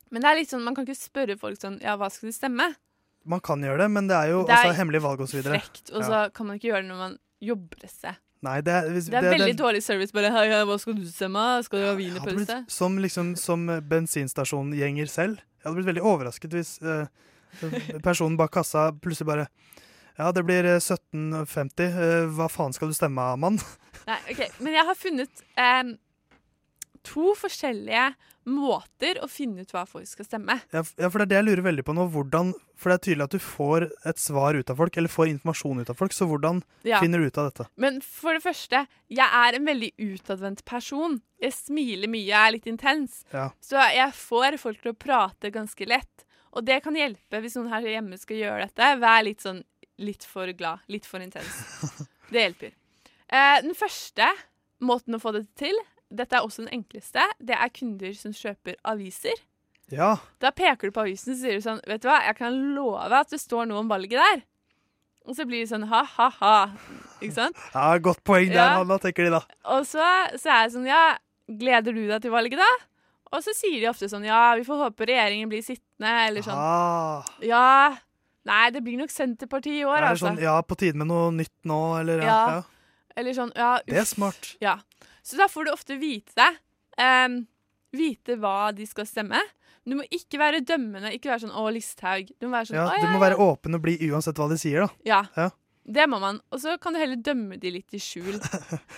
Speaker 17: Men det er litt sånn, man kan ikke spørre folk sånn Ja, hva skal du stemme?
Speaker 5: Man kan gjøre det, men det er jo
Speaker 17: Det er
Speaker 5: også hemmelig valg osv.
Speaker 17: Frekt. Og så kan man ikke gjøre det når man jobber seg.
Speaker 5: Nei, det er, hvis-
Speaker 17: Det er
Speaker 5: det- det-
Speaker 17: veldig dårlig service. Bare hei, hei, hva skal du stemme? Skal du ha wienerpølse?
Speaker 5: Som, liksom, som bensinstasjongjenger selv. Jeg hadde blitt veldig overrasket hvis eh, personen bak kassa plutselig bare Ja, det blir eh, 1750. eh, hva faen skal du stemme av, mann?
Speaker 17: Nei, ok. Men jeg har funnet em, to forskjellige måter å finne ut hva folk skal stemme.
Speaker 5: Ja, f- ja, for det er det jeg lurer veldig på nå. Hvordan, for det er tydelig at du får et svar ut av folk, eller får informasjon ut av folk, så hvordan
Speaker 17: Ja.
Speaker 5: finner du ut av dette?
Speaker 17: Men for det første, jeg er en veldig utadvendt person. Jeg smiler mye, jeg er litt intens.
Speaker 5: Ja.
Speaker 17: Så jeg får folk til å prate ganske lett. Og det kan hjelpe hvis noen her hjemme skal gjøre dette. Vær litt sånn litt for glad, litt for intens. Det hjelper. Eh, den første måten å få dette til, dette er også den enkleste, det er kunder som kjøper aviser.
Speaker 5: Ja.
Speaker 17: Da peker du på avisen og sier du sånn Vet du hva, jeg kan love at det står noe om valget der. Og så blir de sånn ha, ha, ha. Ikke sant?
Speaker 5: ja godt poeng der,
Speaker 17: Ja.
Speaker 5: Hanna, tenker de da.
Speaker 17: Og så, så er jeg sånn Ja, gleder du deg til valget, da? Og så sier de ofte sånn Ja, vi får håpe regjeringen blir sittende, eller sånn.
Speaker 5: Ah.
Speaker 17: Ja. Nei, det blir nok Senterpartiet i år,
Speaker 5: Er det
Speaker 17: altså.
Speaker 5: sånn, ja, på tide med noe nytt nå, eller ja.
Speaker 17: Ja.
Speaker 5: ja.
Speaker 17: Eller sånn Ja, uff.
Speaker 5: Det er smart.
Speaker 17: Ja. Så da får du ofte vite det. Ehm, vite hva de skal stemme. Men du må ikke være dømmende, ikke være sånn 'Å, Listhaug'. Du må være sånn
Speaker 5: Ja,
Speaker 17: «Å,
Speaker 5: du
Speaker 17: ja,
Speaker 5: må
Speaker 17: ja,
Speaker 5: være åpen og blid uansett hva de sier, da.
Speaker 17: Ja.
Speaker 5: Ja,
Speaker 17: Det må man. Og så kan du heller dømme de litt i skjul.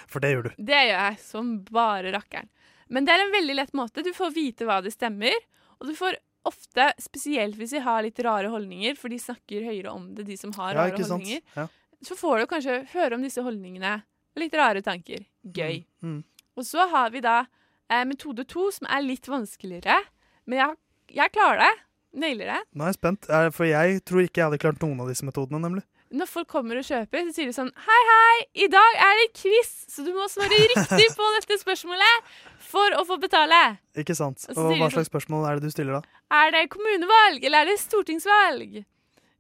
Speaker 5: for det gjør du.
Speaker 17: Det gjør jeg som bare rakkeren. Men det er en veldig lett måte. Du får vite hva det stemmer, og du får ofte, spesielt hvis de har litt rare holdninger, for de snakker høyere om det, de som har
Speaker 5: Ja,
Speaker 17: rare
Speaker 5: ikke sant?
Speaker 17: holdninger,
Speaker 5: Ja.
Speaker 17: så får du kanskje høre om disse holdningene. Litt rare tanker. Gøy.
Speaker 5: Mm.
Speaker 17: Og så har vi da eh, metode to, som er litt vanskeligere. Men jeg, jeg klarer det. Nailer det.
Speaker 5: Nå er jeg spent, eh, for jeg tror ikke jeg hadde klart noen av disse metodene, nemlig.
Speaker 17: Når folk kommer og kjøper, så sier de sånn Hei, hei, i dag er det quiz, så du må svare riktig på dette spørsmålet for å få betale.
Speaker 5: Ikke sant?
Speaker 17: Og så
Speaker 5: Og
Speaker 17: sier
Speaker 5: hva
Speaker 17: de sånn-
Speaker 5: slags spørsmål er det du stiller da?
Speaker 17: Er det kommunevalg, eller er det stortingsvalg?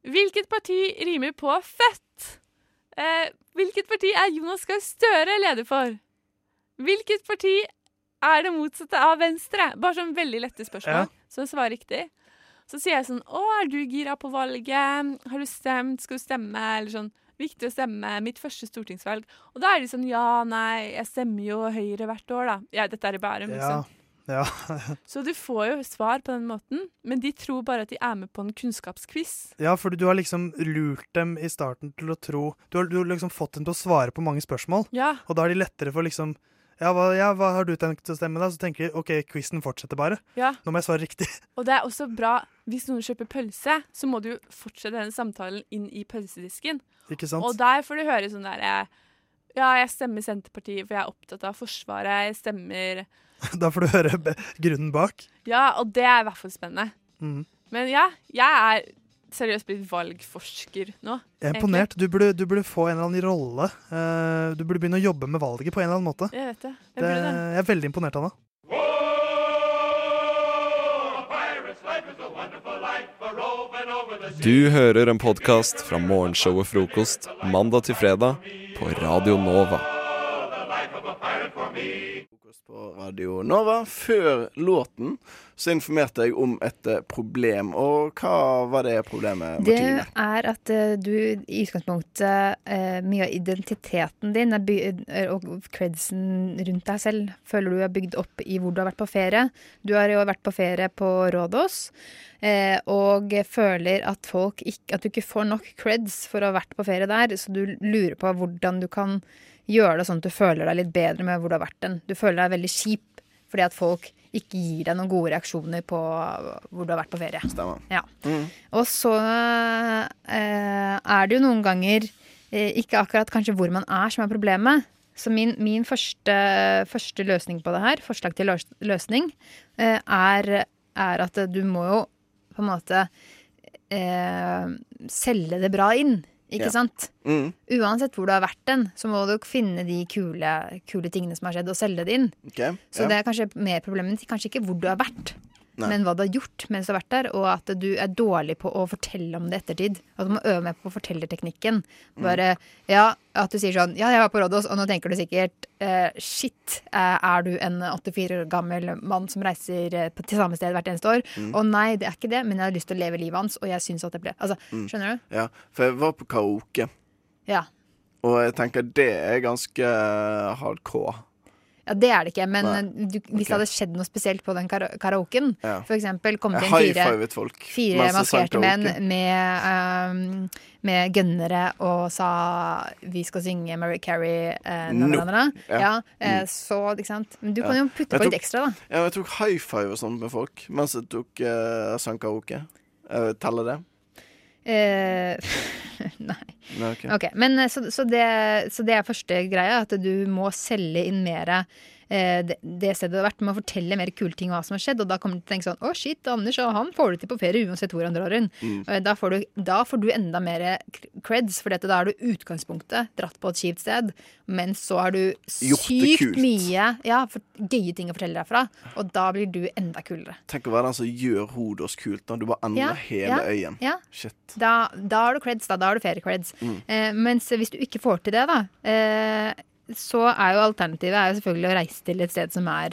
Speaker 17: Hvilket parti rimer på født? Eh, hvilket parti er Jonas Gahr Støre leder for? Hvilket parti er det motsatte av Venstre? Bare sånn veldig lette
Speaker 5: Ja.
Speaker 17: spørsmål, så jeg svarer riktig. Så sier jeg sånn Å, er du gira på valget? Har du stemt? Skal du stemme? Eller sånn Viktig å stemme. Mitt første stortingsvalg. Og da er de sånn Ja, nei, jeg stemmer jo Høyre hvert år, da. Ja, dette er i Bærum, liksom. ikke
Speaker 5: Ja.
Speaker 17: sant?
Speaker 5: Ja.
Speaker 17: Så du får jo svar på den måten, men de tror bare at de er med på en kunnskapsquiz.
Speaker 5: ja, for du har liksom lurt dem i starten til å tro Du har, du har liksom fått dem til å svare på mange spørsmål,
Speaker 17: Ja.
Speaker 5: og da er de lettere for liksom ja hva, ja, hva har du tenkt å stemme, da? Så tenker de OK, quizen fortsetter bare.
Speaker 17: Ja.
Speaker 5: Nå må jeg svare riktig.
Speaker 17: Og det er også bra hvis noen kjøper pølse, så må du jo fortsette denne samtalen inn i pølsedisken.
Speaker 5: Ikke sant?
Speaker 17: Og der får du høre sånn der eh, Ja, jeg stemmer Senterpartiet, for jeg er opptatt av Forsvaret. Jeg stemmer
Speaker 5: Da får du høre be- grunnen bak.
Speaker 17: Ja, og det er i hvert fall spennende.
Speaker 5: Mhm.
Speaker 17: Men ja, jeg er seriøst blitt valgforsker nå.
Speaker 5: Jeg er imponert. Du burde, du burde få en eller annen rolle. Eh, du burde begynne å jobbe med valget på en eller annen måte.
Speaker 17: egentlig. Jeg vet det. Jeg
Speaker 5: Det,
Speaker 17: burde det.
Speaker 5: jeg er veldig imponert, Anna.
Speaker 6: Du hører en podkast fra morgenshowet Frokost mandag til fredag på Radio Nova.
Speaker 12: på Radio Nova. Før låten så informerte jeg om et eh, problem, og hva var det problemet?
Speaker 18: Det
Speaker 12: eh, Martine?
Speaker 18: er at eh, du i utgangspunktet eh, Mye av identiteten din er byg- er- og credsen rundt deg selv føler du er bygd opp i hvor du har vært på ferie. Du har jo vært på ferie på Rådås eh, og føler at, folk ikke, at du ikke får nok creds for å ha vært på ferie der, så du lurer på hvordan du kan gjøre det sånn at du føler deg litt bedre med hvor du har vært den. Du føler deg veldig kjip fordi at folk ikke gir deg noen gode reaksjoner på hvor du har vært på ferie.
Speaker 12: Stemmer.
Speaker 18: Ja.
Speaker 10: Mm.
Speaker 18: Og så eh, er det jo noen ganger eh, ikke akkurat kanskje hvor man er som er problemet. Så min, min første, første løsning på det her, forslag til løs løsning, eh, er, er at du må jo på en måte eh, selge det bra inn ikke
Speaker 12: Ja.
Speaker 18: sant?
Speaker 12: Mm.
Speaker 18: Uansett hvor du har vært den, så må du finne de kule, kule tingene som har skjedd, og selge det inn.
Speaker 12: Ok,
Speaker 18: Så
Speaker 12: ja.
Speaker 18: det er kanskje mer problemet, kanskje ikke hvor du har vært,
Speaker 12: Nei.
Speaker 18: men hva du har gjort mens du har vært der, og at du er dårlig på å fortelle om det i ettertid. At du må øve mer på fortellerteknikken.
Speaker 12: Mm.
Speaker 18: Bare, ja, at du sier sånn, ja, jeg var på Rådås, og nå tenker du sikkert, eh, shit, eh, er du en 84 år gammel mann som reiser eh, på- til samme sted hvert eneste år?
Speaker 12: Mm.
Speaker 18: Og nei, det er ikke det, men jeg har lyst til å leve livet hans, og jeg synes at det ble, altså,
Speaker 12: Mm.
Speaker 18: skjønner du?
Speaker 12: Ja, for jeg var på karaoke,
Speaker 18: Ja.
Speaker 12: og jeg tenker det er ganske eh, hardcore.
Speaker 18: Ja, det er det ikke, men eh,
Speaker 12: Nei.
Speaker 18: du, hvis
Speaker 12: Ok.
Speaker 18: det hadde skjedd noe spesielt på den kara karaoken,
Speaker 12: Ja.
Speaker 18: for eksempel kom det
Speaker 12: Jeg
Speaker 18: inn fire,
Speaker 12: high-fivet folk
Speaker 18: fire
Speaker 12: mens jeg sang
Speaker 18: maskerte menn
Speaker 12: karaoke.
Speaker 18: med, ehm, med gønnere og sa vi skal synge Mary Carey eh, na, na, na, na, na.
Speaker 12: Ja.
Speaker 18: Ja, eh,
Speaker 12: Mm.
Speaker 18: så, ikke sant? Men du
Speaker 12: Ja.
Speaker 18: kan jo putte
Speaker 12: Jeg
Speaker 18: på
Speaker 12: tok-
Speaker 18: litt ekstra, da.
Speaker 12: Ja, jeg tok high five og sånt med folk mens jeg tok eh, sang karaoke. Eh, teller det?
Speaker 18: Eh, nei.
Speaker 12: Nei, ok.
Speaker 18: Ok, men eh, så, så, det, så det er første greia, at du må selge inn mer eh, det, det stedet du har vært. Du må fortelle mer kule ting og hva som har skjedd, og da kommer du til å tenke sånn Å, shit, Anders og han får det til på ferie uansett hvor han drar hen.
Speaker 12: Mm.
Speaker 18: Eh, Da, får du- da får du enda mer k- creds, for dette, da er du utgangspunktet dratt på et kjipt sted, men så har du
Speaker 12: Gjort det
Speaker 18: sykt
Speaker 12: kult.
Speaker 18: mye ja, for, gøye ting å fortelle derfra, og da blir du enda kulere.
Speaker 12: Tenk å være den som gjør Hodos kult når du bare endrer
Speaker 18: Ja,
Speaker 12: hele
Speaker 18: ja,
Speaker 12: øyen.
Speaker 18: ja.
Speaker 12: Shit.
Speaker 18: Da, da har du creds, da. Da har du ferie-creds.
Speaker 12: Mm.
Speaker 18: Eh, mens hvis du ikke får til det, da, eh, så er jo alternativet er jo selvfølgelig å reise til et sted som er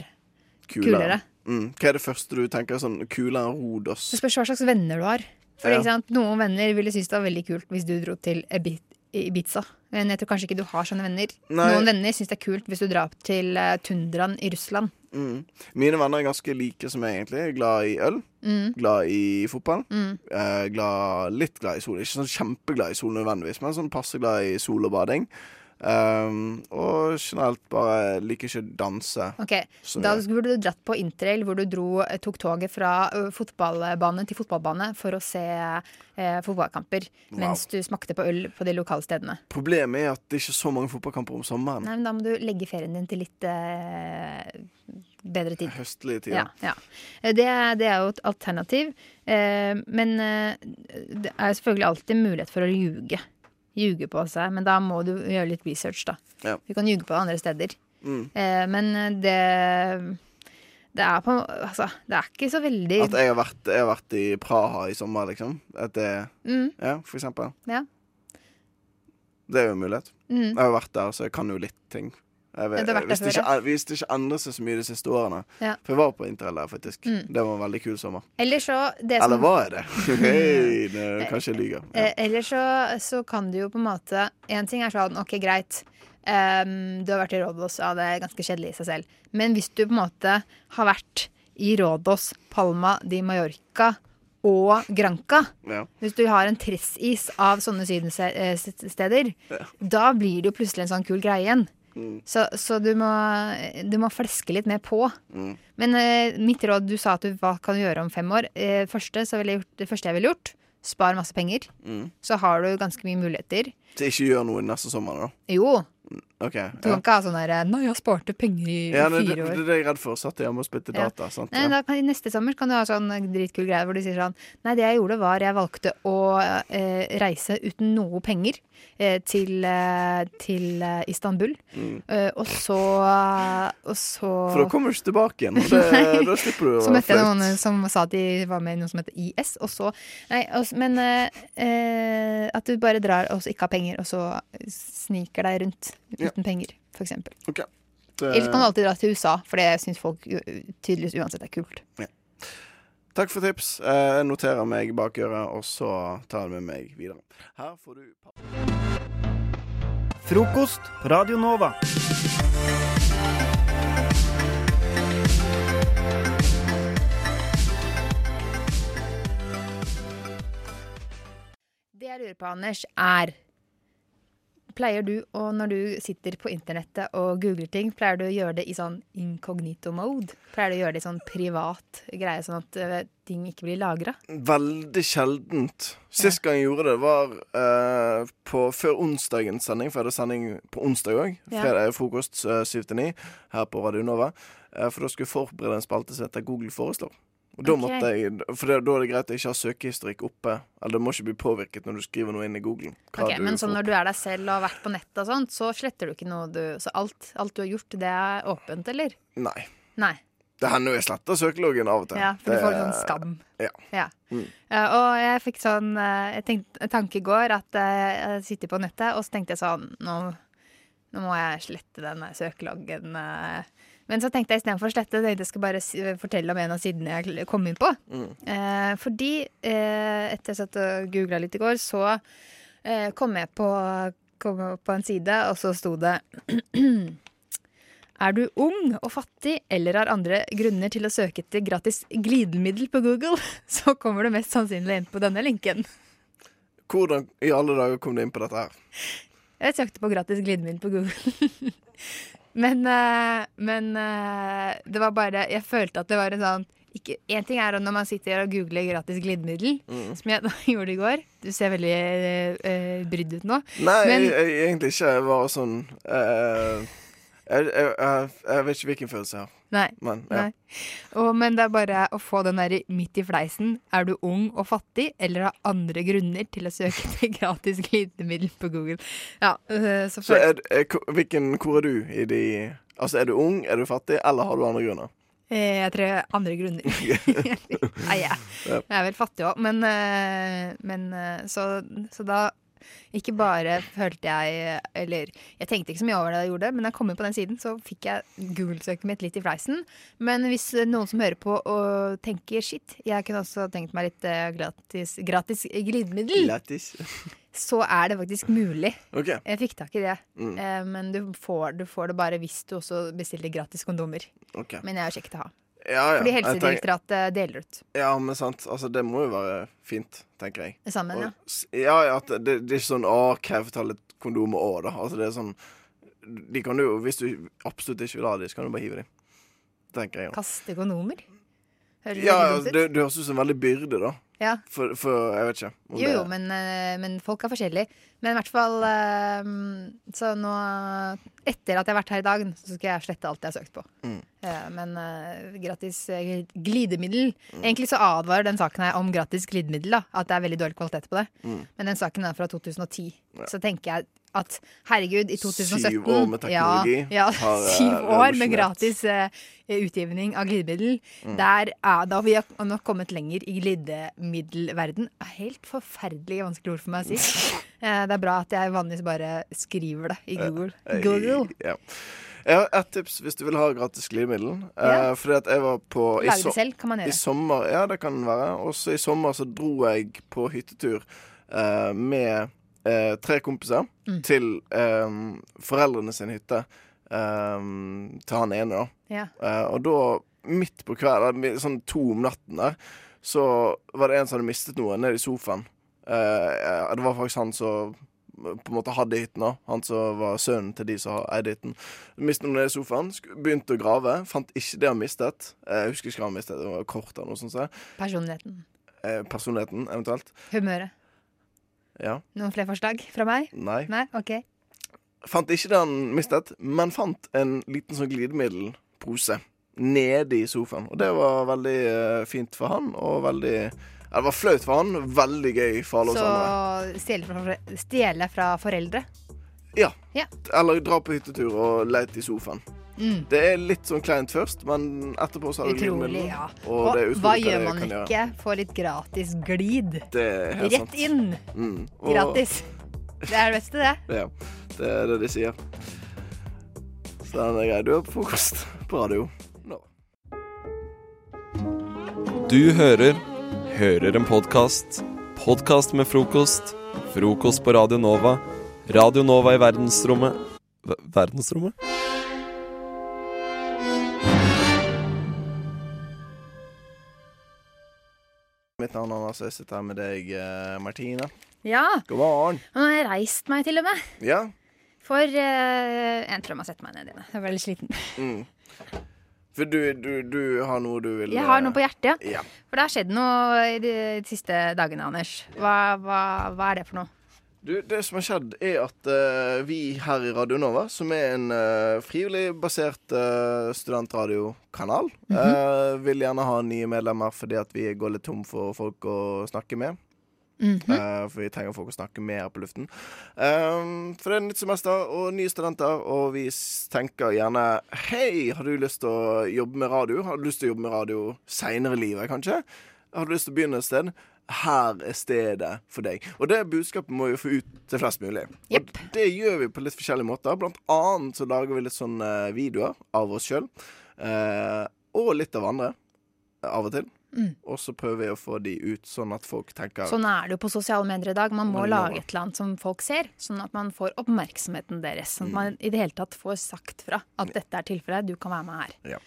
Speaker 18: kulere.
Speaker 12: Mm. Hva er det første du tenker sånn kulere enn Hodos?
Speaker 18: Det spørs hva slags venner du har. For
Speaker 12: Ja.
Speaker 18: ikke sant, Noen venner ville synes det var veldig kult hvis du dro til Ibi- Ibiza. Men jeg tror kanskje ikke du har sånne venner.
Speaker 12: Nei.
Speaker 18: Noen venner syns det er kult hvis du drar til eh, tundraen i Russland.
Speaker 12: Mm. Mine venner er ganske like som meg, egentlig. Jeg er Glad i øl.
Speaker 18: Mm.
Speaker 12: Glad i fotball.
Speaker 18: Mm.
Speaker 12: Eh, glad, litt glad i sol. Ikke sånn kjempeglad i sol nødvendigvis, men sånn passe glad i sol og bading. Um, og generelt bare liker ikke å danse.
Speaker 18: Ok,
Speaker 12: Så-
Speaker 18: Da burde du dratt på interrail, hvor du dro, eh, tok toget fra ø, fotballbane til fotballbane for å se eh, fotballkamper,
Speaker 12: Wow.
Speaker 18: mens du smakte på øl på de lokale stedene.
Speaker 12: Problemet er at det er ikke så mange fotballkamper om sommeren.
Speaker 18: Nei, men Da må du legge ferien din til litt eh, bedre tid.
Speaker 12: Høstlige tider.
Speaker 18: Ja, ja. Eh, Det, er- det er jo et alternativ. Eh, men eh, det er selvfølgelig alltid mulighet for å ljuge. Ljuge på seg, men da må du gjøre litt research, da.
Speaker 12: Ja.
Speaker 18: Du kan ljuge på det andre steder.
Speaker 12: Mm.
Speaker 18: Eh, men det det er, på, altså, det er ikke så veldig
Speaker 12: At jeg har, vært, jeg har vært i Praha i sommer, liksom. At det,
Speaker 18: Mm.
Speaker 12: Ja, for eksempel.
Speaker 18: ja.
Speaker 12: Det er jo en mulighet.
Speaker 18: Mm.
Speaker 12: Jeg har jo vært der, så jeg kan jo litt ting. Jeg
Speaker 18: Ja,
Speaker 12: vet,
Speaker 18: du har vært der
Speaker 12: hvis, det
Speaker 18: før,
Speaker 12: ikke, hvis det ikke endrer seg så mye de siste årene.
Speaker 18: Ja.
Speaker 12: For jeg var på interrail der, faktisk.
Speaker 18: Mm.
Speaker 12: Det var en veldig kul sommer.
Speaker 18: Eller så det som-
Speaker 12: Eller var jeg det? Hei, det- kanskje jeg lyver.
Speaker 18: Eh, Eller så, så kan du jo på en måte En ting er sånn, ok, greit. ehm, du har vært i Rådås, ja, det er ganske kjedelig i seg selv. Men hvis du på en måte har vært i Rådås, Palma de Mallorca og Granca
Speaker 12: Ja.
Speaker 18: Hvis du har en tressis av sånne sydensteder, da blir det jo plutselig en sånn kul greie igjen.
Speaker 12: Mm.
Speaker 18: Så, så du, må, du må fleske litt mer på.
Speaker 12: Mm.
Speaker 18: Men eh, mitt råd, du sa at du, hva kan du gjøre om fem år? Eh, første, så ville jeg gjort, det første jeg ville gjort, spar masse penger.
Speaker 12: Mm.
Speaker 18: Så har du ganske mye muligheter.
Speaker 12: Så ikke gjør noe neste sommer, da. Mm,
Speaker 18: Jo,
Speaker 12: OK.
Speaker 18: du kan
Speaker 12: Ja.
Speaker 18: ikke ha sånn der 'Nei, jeg sparte penger i
Speaker 12: Ja, det, det,
Speaker 18: fire
Speaker 12: det
Speaker 18: år'.
Speaker 12: er det jeg er redd for. Satt hjemme og spilte
Speaker 18: Ja.
Speaker 12: data. Sant?
Speaker 18: Nei, da kan, i Neste sommer kan du ha sånn dritkul greie hvor du sier sånn Nei, det jeg gjorde var jeg valgte å eh, reise uten noe penger eh, til, eh, til eh, Istanbul.
Speaker 12: Mm.
Speaker 18: Eh, og så Og så
Speaker 12: For da kommer du ikke tilbake igjen. Og
Speaker 18: Nei.
Speaker 12: det, da slipper du å
Speaker 18: så møtte jeg
Speaker 12: flaut.
Speaker 18: noen som sa at de var med i noe som heter IS, og så Nei, og s- men eh, eh, at du bare drar og så ikke har penger, og så sniker deg rundt uten
Speaker 12: Ja.
Speaker 18: penger, for eksempel.
Speaker 12: Ok. Det-
Speaker 18: Eller så kan du alltid dra til USA, for det syns folk jo- tydeligvis uansett er kult.
Speaker 12: Takk for tips. Eh, Jeg noterer meg bak øret, og så tar jeg det med meg videre. Her får du
Speaker 1: Frokost på Radio Nova.
Speaker 18: Det jeg lurer på, Anders, er Pleier du, og når du sitter på internettet og googler ting, pleier du å gjøre det i sånn incognito mode? Pleier du å gjøre det i sånn privat greie, sånn at eh, ting ikke blir lagra?
Speaker 12: Veldig sjeldent. Sist gang jeg gjorde det, var eh, på, før onsdagens sending, for jeg hadde sending på onsdag òg.
Speaker 18: Ja.
Speaker 12: Frokost eh, 7 til 9 her på Radio Nova. Eh, for da skulle jeg forberede en spalte som heter Google foreslår. Og da
Speaker 18: Ok.
Speaker 12: måtte jeg, for det, da er det greit å ikke ha søkehistorikk oppe. Eller det må ikke bli påvirket når du skriver noe inn i Google. hva
Speaker 18: Ok,
Speaker 12: du
Speaker 18: men sånn
Speaker 12: får.
Speaker 18: når du er deg selv og har vært på nettet og sånt, så sletter du ikke noe du Så alt, alt du har gjort, det er åpent, eller?
Speaker 12: Nei.
Speaker 18: Nei.
Speaker 12: Det hender jo jeg sletter søkeloggen av og til.
Speaker 18: Ja, for du
Speaker 12: Det-
Speaker 18: får sånn skam.
Speaker 12: Ja.
Speaker 18: Ja.
Speaker 12: Mm.
Speaker 18: Eh, og jeg fikk sånn eh, Jeg tenkte en tanke i går at eh, jeg sitter på nettet, og så tenkte jeg sånn Nå, nå må jeg slette den der søkeloggen. eh. Men så tenkte jeg istedenfor å slette, tenkte jeg skal bare si- fortelle om en av sidene jeg kl- kom inn på.
Speaker 12: Mm.
Speaker 18: Eh, fordi eh, etter jeg satt og googla litt i går, så eh, kom jeg på, kom jeg på en side, og så sto det Er du ung og fattig eller har andre grunner til å søke etter gratis glidemiddel på Google, så kommer du mest sannsynlig inn på denne linken.
Speaker 12: Hvordan i alle dager kom du inn på dette her?
Speaker 18: Jeg søkte på gratis glidemiddel på Google. men eh, men eh, det var bare Jeg følte at det var en sånn ikke, En ting er når man sitter og googler gratis glidemiddel,
Speaker 12: Mm.
Speaker 18: som jeg da gjorde i går. Du ser veldig eh, eh, brydd ut nå.
Speaker 12: Nei,
Speaker 18: men,
Speaker 12: jeg, jeg, egentlig ikke. Jeg var sånn eh, jeg, jeg, jeg, jeg vet ikke hvilken følelse jeg har.
Speaker 18: Nei.
Speaker 12: Men, ja.
Speaker 18: Nei. Og, men det er bare å få den der midt i fleisen. Er du ung og fattig, eller har andre grunner til å søke etter gratis glidemiddel på Google? Ja, øh, så
Speaker 12: Så
Speaker 18: føl-
Speaker 12: er, er, hvilken, hvor er du i de Altså, er du ung, er du fattig, eller har du andre grunner?
Speaker 18: eh, jeg tror andre grunner. Nei, jeg,
Speaker 12: Ja.
Speaker 18: jeg er vel fattig òg, men, øh, men øh, så, så da ikke bare følte jeg Eller jeg tenkte ikke så mye over det jeg gjorde, men da jeg kom inn på den siden, så fikk jeg Google-søket mitt litt i fleisen. Men hvis noen som hører på og tenker shit, jeg kunne også tenkt meg litt eh, gratis, gratis glidemiddel,
Speaker 12: Lættis.
Speaker 18: så er det faktisk mulig.
Speaker 12: OK.
Speaker 18: Jeg fikk tak i det,
Speaker 12: Mm.
Speaker 18: Eh, men du får, du får det bare hvis du også bestiller gratis kondomer.
Speaker 12: ok.
Speaker 18: Men jeg har sjekket det ha.
Speaker 12: ja, Ah, ja.
Speaker 18: Fordi
Speaker 12: Jeg tenker-
Speaker 18: Helsedirektoratet deler ut.
Speaker 12: Ja, men sant. Altså, det må jo være fint, tenker jeg.
Speaker 18: Sammen,
Speaker 12: Og-
Speaker 18: ja.
Speaker 12: s- ja. ja at det, det er ikke sånn 'Å, kreftall et kondom og å', da. Altså, det er sånn De kan jo, hvis du absolutt ikke vil ha dem, så kan du bare hive dem. Tenker jeg. da.
Speaker 18: Kaste kondomer? Høres
Speaker 12: Ja,
Speaker 18: veldig
Speaker 12: ja,
Speaker 18: dumt ut.
Speaker 12: det, det høres ut som en veldig byrde, da.
Speaker 18: Ja.
Speaker 12: For, for jeg vet ikke. om
Speaker 18: Jo,
Speaker 12: det-
Speaker 18: jo, men, eh, men folk er forskjellige. Men i hvert fall eh, Så nå Etter at jeg har vært her i dag, så skal jeg slette alt jeg har søkt på.
Speaker 12: Mm.
Speaker 18: Eh, Men eh, gratis eh, glidemiddel
Speaker 12: Mm.
Speaker 18: Egentlig så advarer den saken her om gratis glidemiddel, da. At det er veldig dårlig kvalitet på det.
Speaker 12: Mm.
Speaker 18: Men den saken er fra 2010.
Speaker 12: Ja.
Speaker 18: Så tenker jeg at herregud, i 2017
Speaker 12: Syv år med teknologi
Speaker 18: Ja, ja
Speaker 12: har, eh,
Speaker 18: syv år med
Speaker 12: revolusjonert.
Speaker 18: gratis eh, utgivning av glidemiddel.
Speaker 12: Mm.
Speaker 18: Der er da vi har nok kommet lenger i glidemiddelverden. Helt forferdelig vanskelig ord for meg å si. Eh, det er bra at jeg vanligvis bare skriver det i Google.
Speaker 12: Eh,
Speaker 18: Google.
Speaker 12: Ja. Jeg har ett tips hvis du vil ha gratis glidemiddel. Eh,
Speaker 18: Ja.
Speaker 12: fordi at jeg var på
Speaker 18: Lage det selv, kan man gjøre.
Speaker 12: I sommer, ja, det kan være. Også i sommer så dro jeg på hyttetur eh, med eh, tre kompiser
Speaker 18: Mm.
Speaker 12: til eh, foreldrene sin hytte. Eh, til han ene, da.
Speaker 18: Ja.
Speaker 12: Eh, og da, midt på kvelden, mi- sånn to om natten der, så var det en som hadde mistet noe nede i sofaen. Eh, det var faktisk han som eh, på en måte hadde hytten da. Han som var sønnen til de som eide hytten. Mistet noe nede i sofaen, sk- begynte å grave, fant ikke det han mistet. Eh, jeg husker ikke hva han mistet, det var kort eller noe sånt. så.
Speaker 18: Personligheten.
Speaker 12: Eh, personligheten, eventuelt.
Speaker 18: Humøret.
Speaker 12: Ja.
Speaker 18: Noen flere forslag fra meg?
Speaker 12: Nei.
Speaker 18: Nei? OK.
Speaker 12: Fant ikke det han mistet, men fant en liten sånn glidemiddelpose nede i sofaen. Og det var veldig eh, fint for han, og veldig ja, Det var flaut for han, veldig gøy for alle oss
Speaker 18: Så
Speaker 12: andre.
Speaker 18: stjele fra, stjele fra foreldre.
Speaker 12: Ja.
Speaker 18: Ja.
Speaker 12: Eller dra på hyttetur og lete i sofaen.
Speaker 18: Mm.
Speaker 12: Det er litt sånn kleint først, men etterpå så har du
Speaker 18: Utrolig,
Speaker 12: glidemiddel.
Speaker 18: ja.
Speaker 12: Og, det er utrolig
Speaker 18: hva
Speaker 12: hva
Speaker 18: gjør
Speaker 12: det
Speaker 18: man
Speaker 12: kan
Speaker 18: ikke? Få litt gratis glid.
Speaker 12: Gjøre. Det er helt
Speaker 18: Rett
Speaker 12: sant.
Speaker 18: inn!
Speaker 12: Mm. Og-
Speaker 18: Gratis. Det er det beste, det.
Speaker 12: Ja, det er det de sier. Så den er grei. Du er på frokost på radio.
Speaker 6: Du hører Hører en podkast. Podkast med frokost. Frokost på Radio Nova. Radio Nova i verdensrommet Ver- Verdensrommet?
Speaker 12: Mitt navn er Anders, og jeg sitter her med deg, eh, Martine.
Speaker 18: Ja.
Speaker 12: God morgen.
Speaker 18: Nå har jeg reist meg, til og med.
Speaker 12: Ja.
Speaker 18: For eh, Jeg tror jeg må sette meg ned igjen. Jeg ble litt sliten.
Speaker 12: Mm. For du, du, du har noe du vil eh,
Speaker 18: Jeg har noe på hjertet,
Speaker 12: ja.
Speaker 18: For det har skjedd noe i de siste dagene, Anders. Hva, hva, hva er det for noe?
Speaker 12: Du, det som har skjedd, er at eh, vi her i Radio Nova, som er en eh, frivillig basert eh, studentradiokanal,
Speaker 18: Mhm.
Speaker 12: eh, vil gjerne ha nye medlemmer fordi at vi går litt tom for folk å snakke med.
Speaker 18: Mhm.
Speaker 12: Eh, for vi trenger folk å snakke med her på luften. Ehm, for det er nytt semester og nye studenter, og vi s- tenker gjerne Hei, har du lyst til å jobbe med radio? Har du lyst til å jobbe med radio seinere i livet, kanskje? Har du lyst til å begynne et sted? Her er stedet for deg. Og det budskapet må vi få ut til flest mulig. Og det gjør vi på litt forskjellige måter. Blant annet så lager vi litt sånne videoer av oss sjøl. og litt av andre. Av og til.
Speaker 18: Mm.
Speaker 12: Og så prøver vi å få de ut, sånn at folk tenker
Speaker 18: Sånn er det jo på sosiale medier i dag. Man må
Speaker 12: Man må.
Speaker 18: lage et eller annet som folk ser, sånn at man får oppmerksomheten deres. Sånn at man
Speaker 12: Mm.
Speaker 18: i det hele tatt får sagt fra at dette er tilfellet, du kan være med her.
Speaker 12: Ja.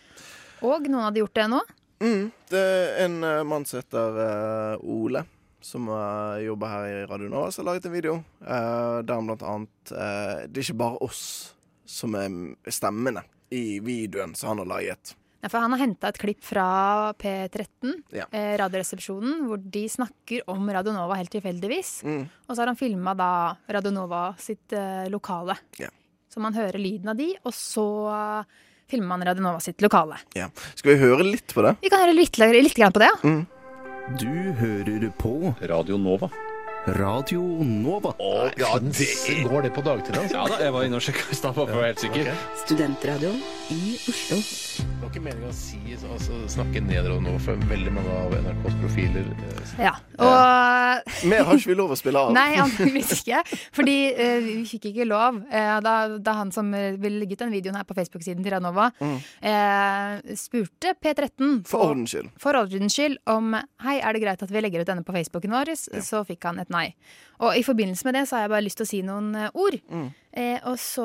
Speaker 18: Og noen hadde gjort det nå.
Speaker 12: Det er en eh, mann som heter eh, Ole, som eh, jobber her i Radio Nova, som har laget en video eh, der han blant annet eh, Det er ikke bare oss som er stemmene i videoen som han har laget.
Speaker 18: Nei, for han har henta et klipp fra P13,
Speaker 12: Ja.
Speaker 18: eh, Radioresepsjonen, hvor de snakker om Radionova helt tilfeldigvis.
Speaker 12: Mm.
Speaker 18: Og så har han filma da Radionova sitt eh, lokale. Så man hører lyden av de, og så eh, filmer man Radionova sitt lokale.
Speaker 12: Ja. Skal vi høre litt på det?
Speaker 18: Vi kan høre litt, litt grann på det, ja.
Speaker 1: Du hører på Radio Nova. Radio Nova.
Speaker 19: ja, det-
Speaker 1: Går det på dagtid, altså?
Speaker 4: Ja da, jeg var inne og sjekka i stad, bare for å være helt sikker.
Speaker 19: Studentradioen i Oslo. Det var ikke meningen å si, altså, snakke nedover nå for veldig mange av NRKs profiler. eh,
Speaker 18: Ja, og eh,
Speaker 12: Mer har ikke vi lov å spille av.
Speaker 18: Nei, antakeligvis ikke. Fordi eh, vi fikk ikke lov. Eh, da, da han som eh, ville legge ut den videoen her på Facebook-siden til Radnova,
Speaker 12: Mm.
Speaker 18: eh, spurte P13
Speaker 12: For ordens skyld.
Speaker 18: for ordens skyld om Hei, er det greit at vi legger ut denne på Facebooken vår? Så fikk han et nei. Og i forbindelse med det så har jeg bare lyst til å si noen eh, ord.
Speaker 12: Mm.
Speaker 18: Eh, og så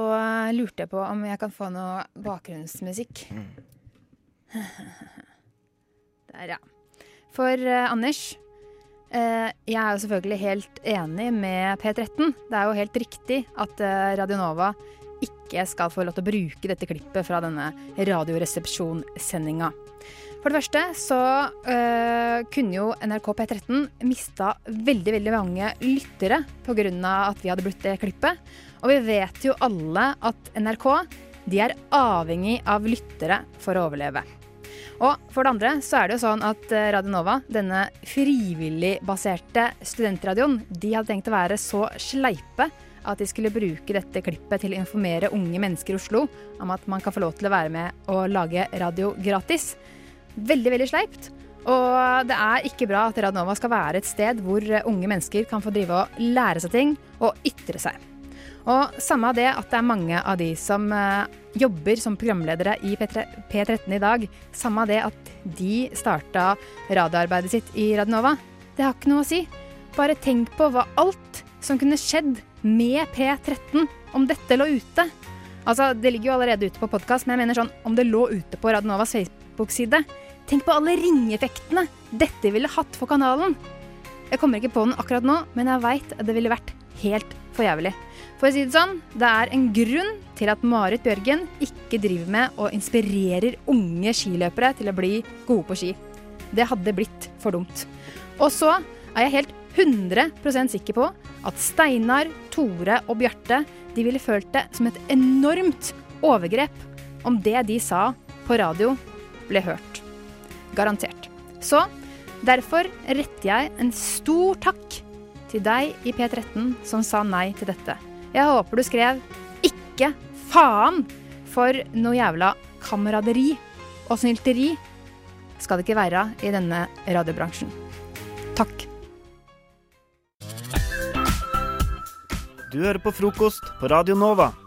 Speaker 18: lurte jeg på om jeg kan få noe bakgrunnsmusikk.
Speaker 1: Mm.
Speaker 18: Der, ja. For eh, Anders, eh, jeg er jo selvfølgelig helt enig med P13. Det er jo helt riktig at eh, Radionova ikke skal få lov til å bruke dette klippet fra denne radioresepsjonssendinga. For det første så eh, kunne jo NRK P13 mista veldig veldig mange lyttere pga. at vi hadde brukt det klippet. Og vi vet jo alle at NRK de er avhengig av lyttere for å overleve. Og for det andre så er det jo sånn at eh, Radio Nova, denne frivilligbaserte studentradioen, de hadde tenkt å være så sleipe at de skulle bruke dette klippet til å informere unge mennesker i Oslo om at man kan få lov til å være med og lage radio gratis. Veldig, veldig sleipt. Og det er ikke bra at Radio Nova skal være et sted hvor eh, unge mennesker kan få drive og lære seg ting og ytre seg. Og samme av det at det er mange av de som eh, jobber som programledere i P3, P13 i dag, samme av det at de starta radioarbeidet sitt i Radionova, det har ikke noe å si. Bare tenk på hva alt som kunne skjedd med P13 om dette lå ute. Altså, Det ligger jo allerede ute på podkast, men jeg mener sånn, om det lå ute på Radionovas Facebook-side Tenk på alle ringeffektene dette ville hatt for kanalen. Jeg kommer ikke på den akkurat nå, men jeg veit det ville vært helt for jævlig. For å si det sånn, det er en grunn til at Marit Bjørgen ikke driver med og inspirerer unge skiløpere til å bli gode på ski. Det hadde blitt for dumt. Og så er jeg helt 100 sikker på at Steinar, Tore og Bjarte de ville følt det som et enormt overgrep om det de sa på radio, ble hørt. Garantert. Så derfor retter jeg en stor takk til deg i P13 som sa nei til dette. Jeg håper du skrev 'ikke faen' for noe jævla kameraderi og snylteri skal det ikke være i denne radiobransjen. Takk.
Speaker 1: Du hører på frokost på Radio Nova.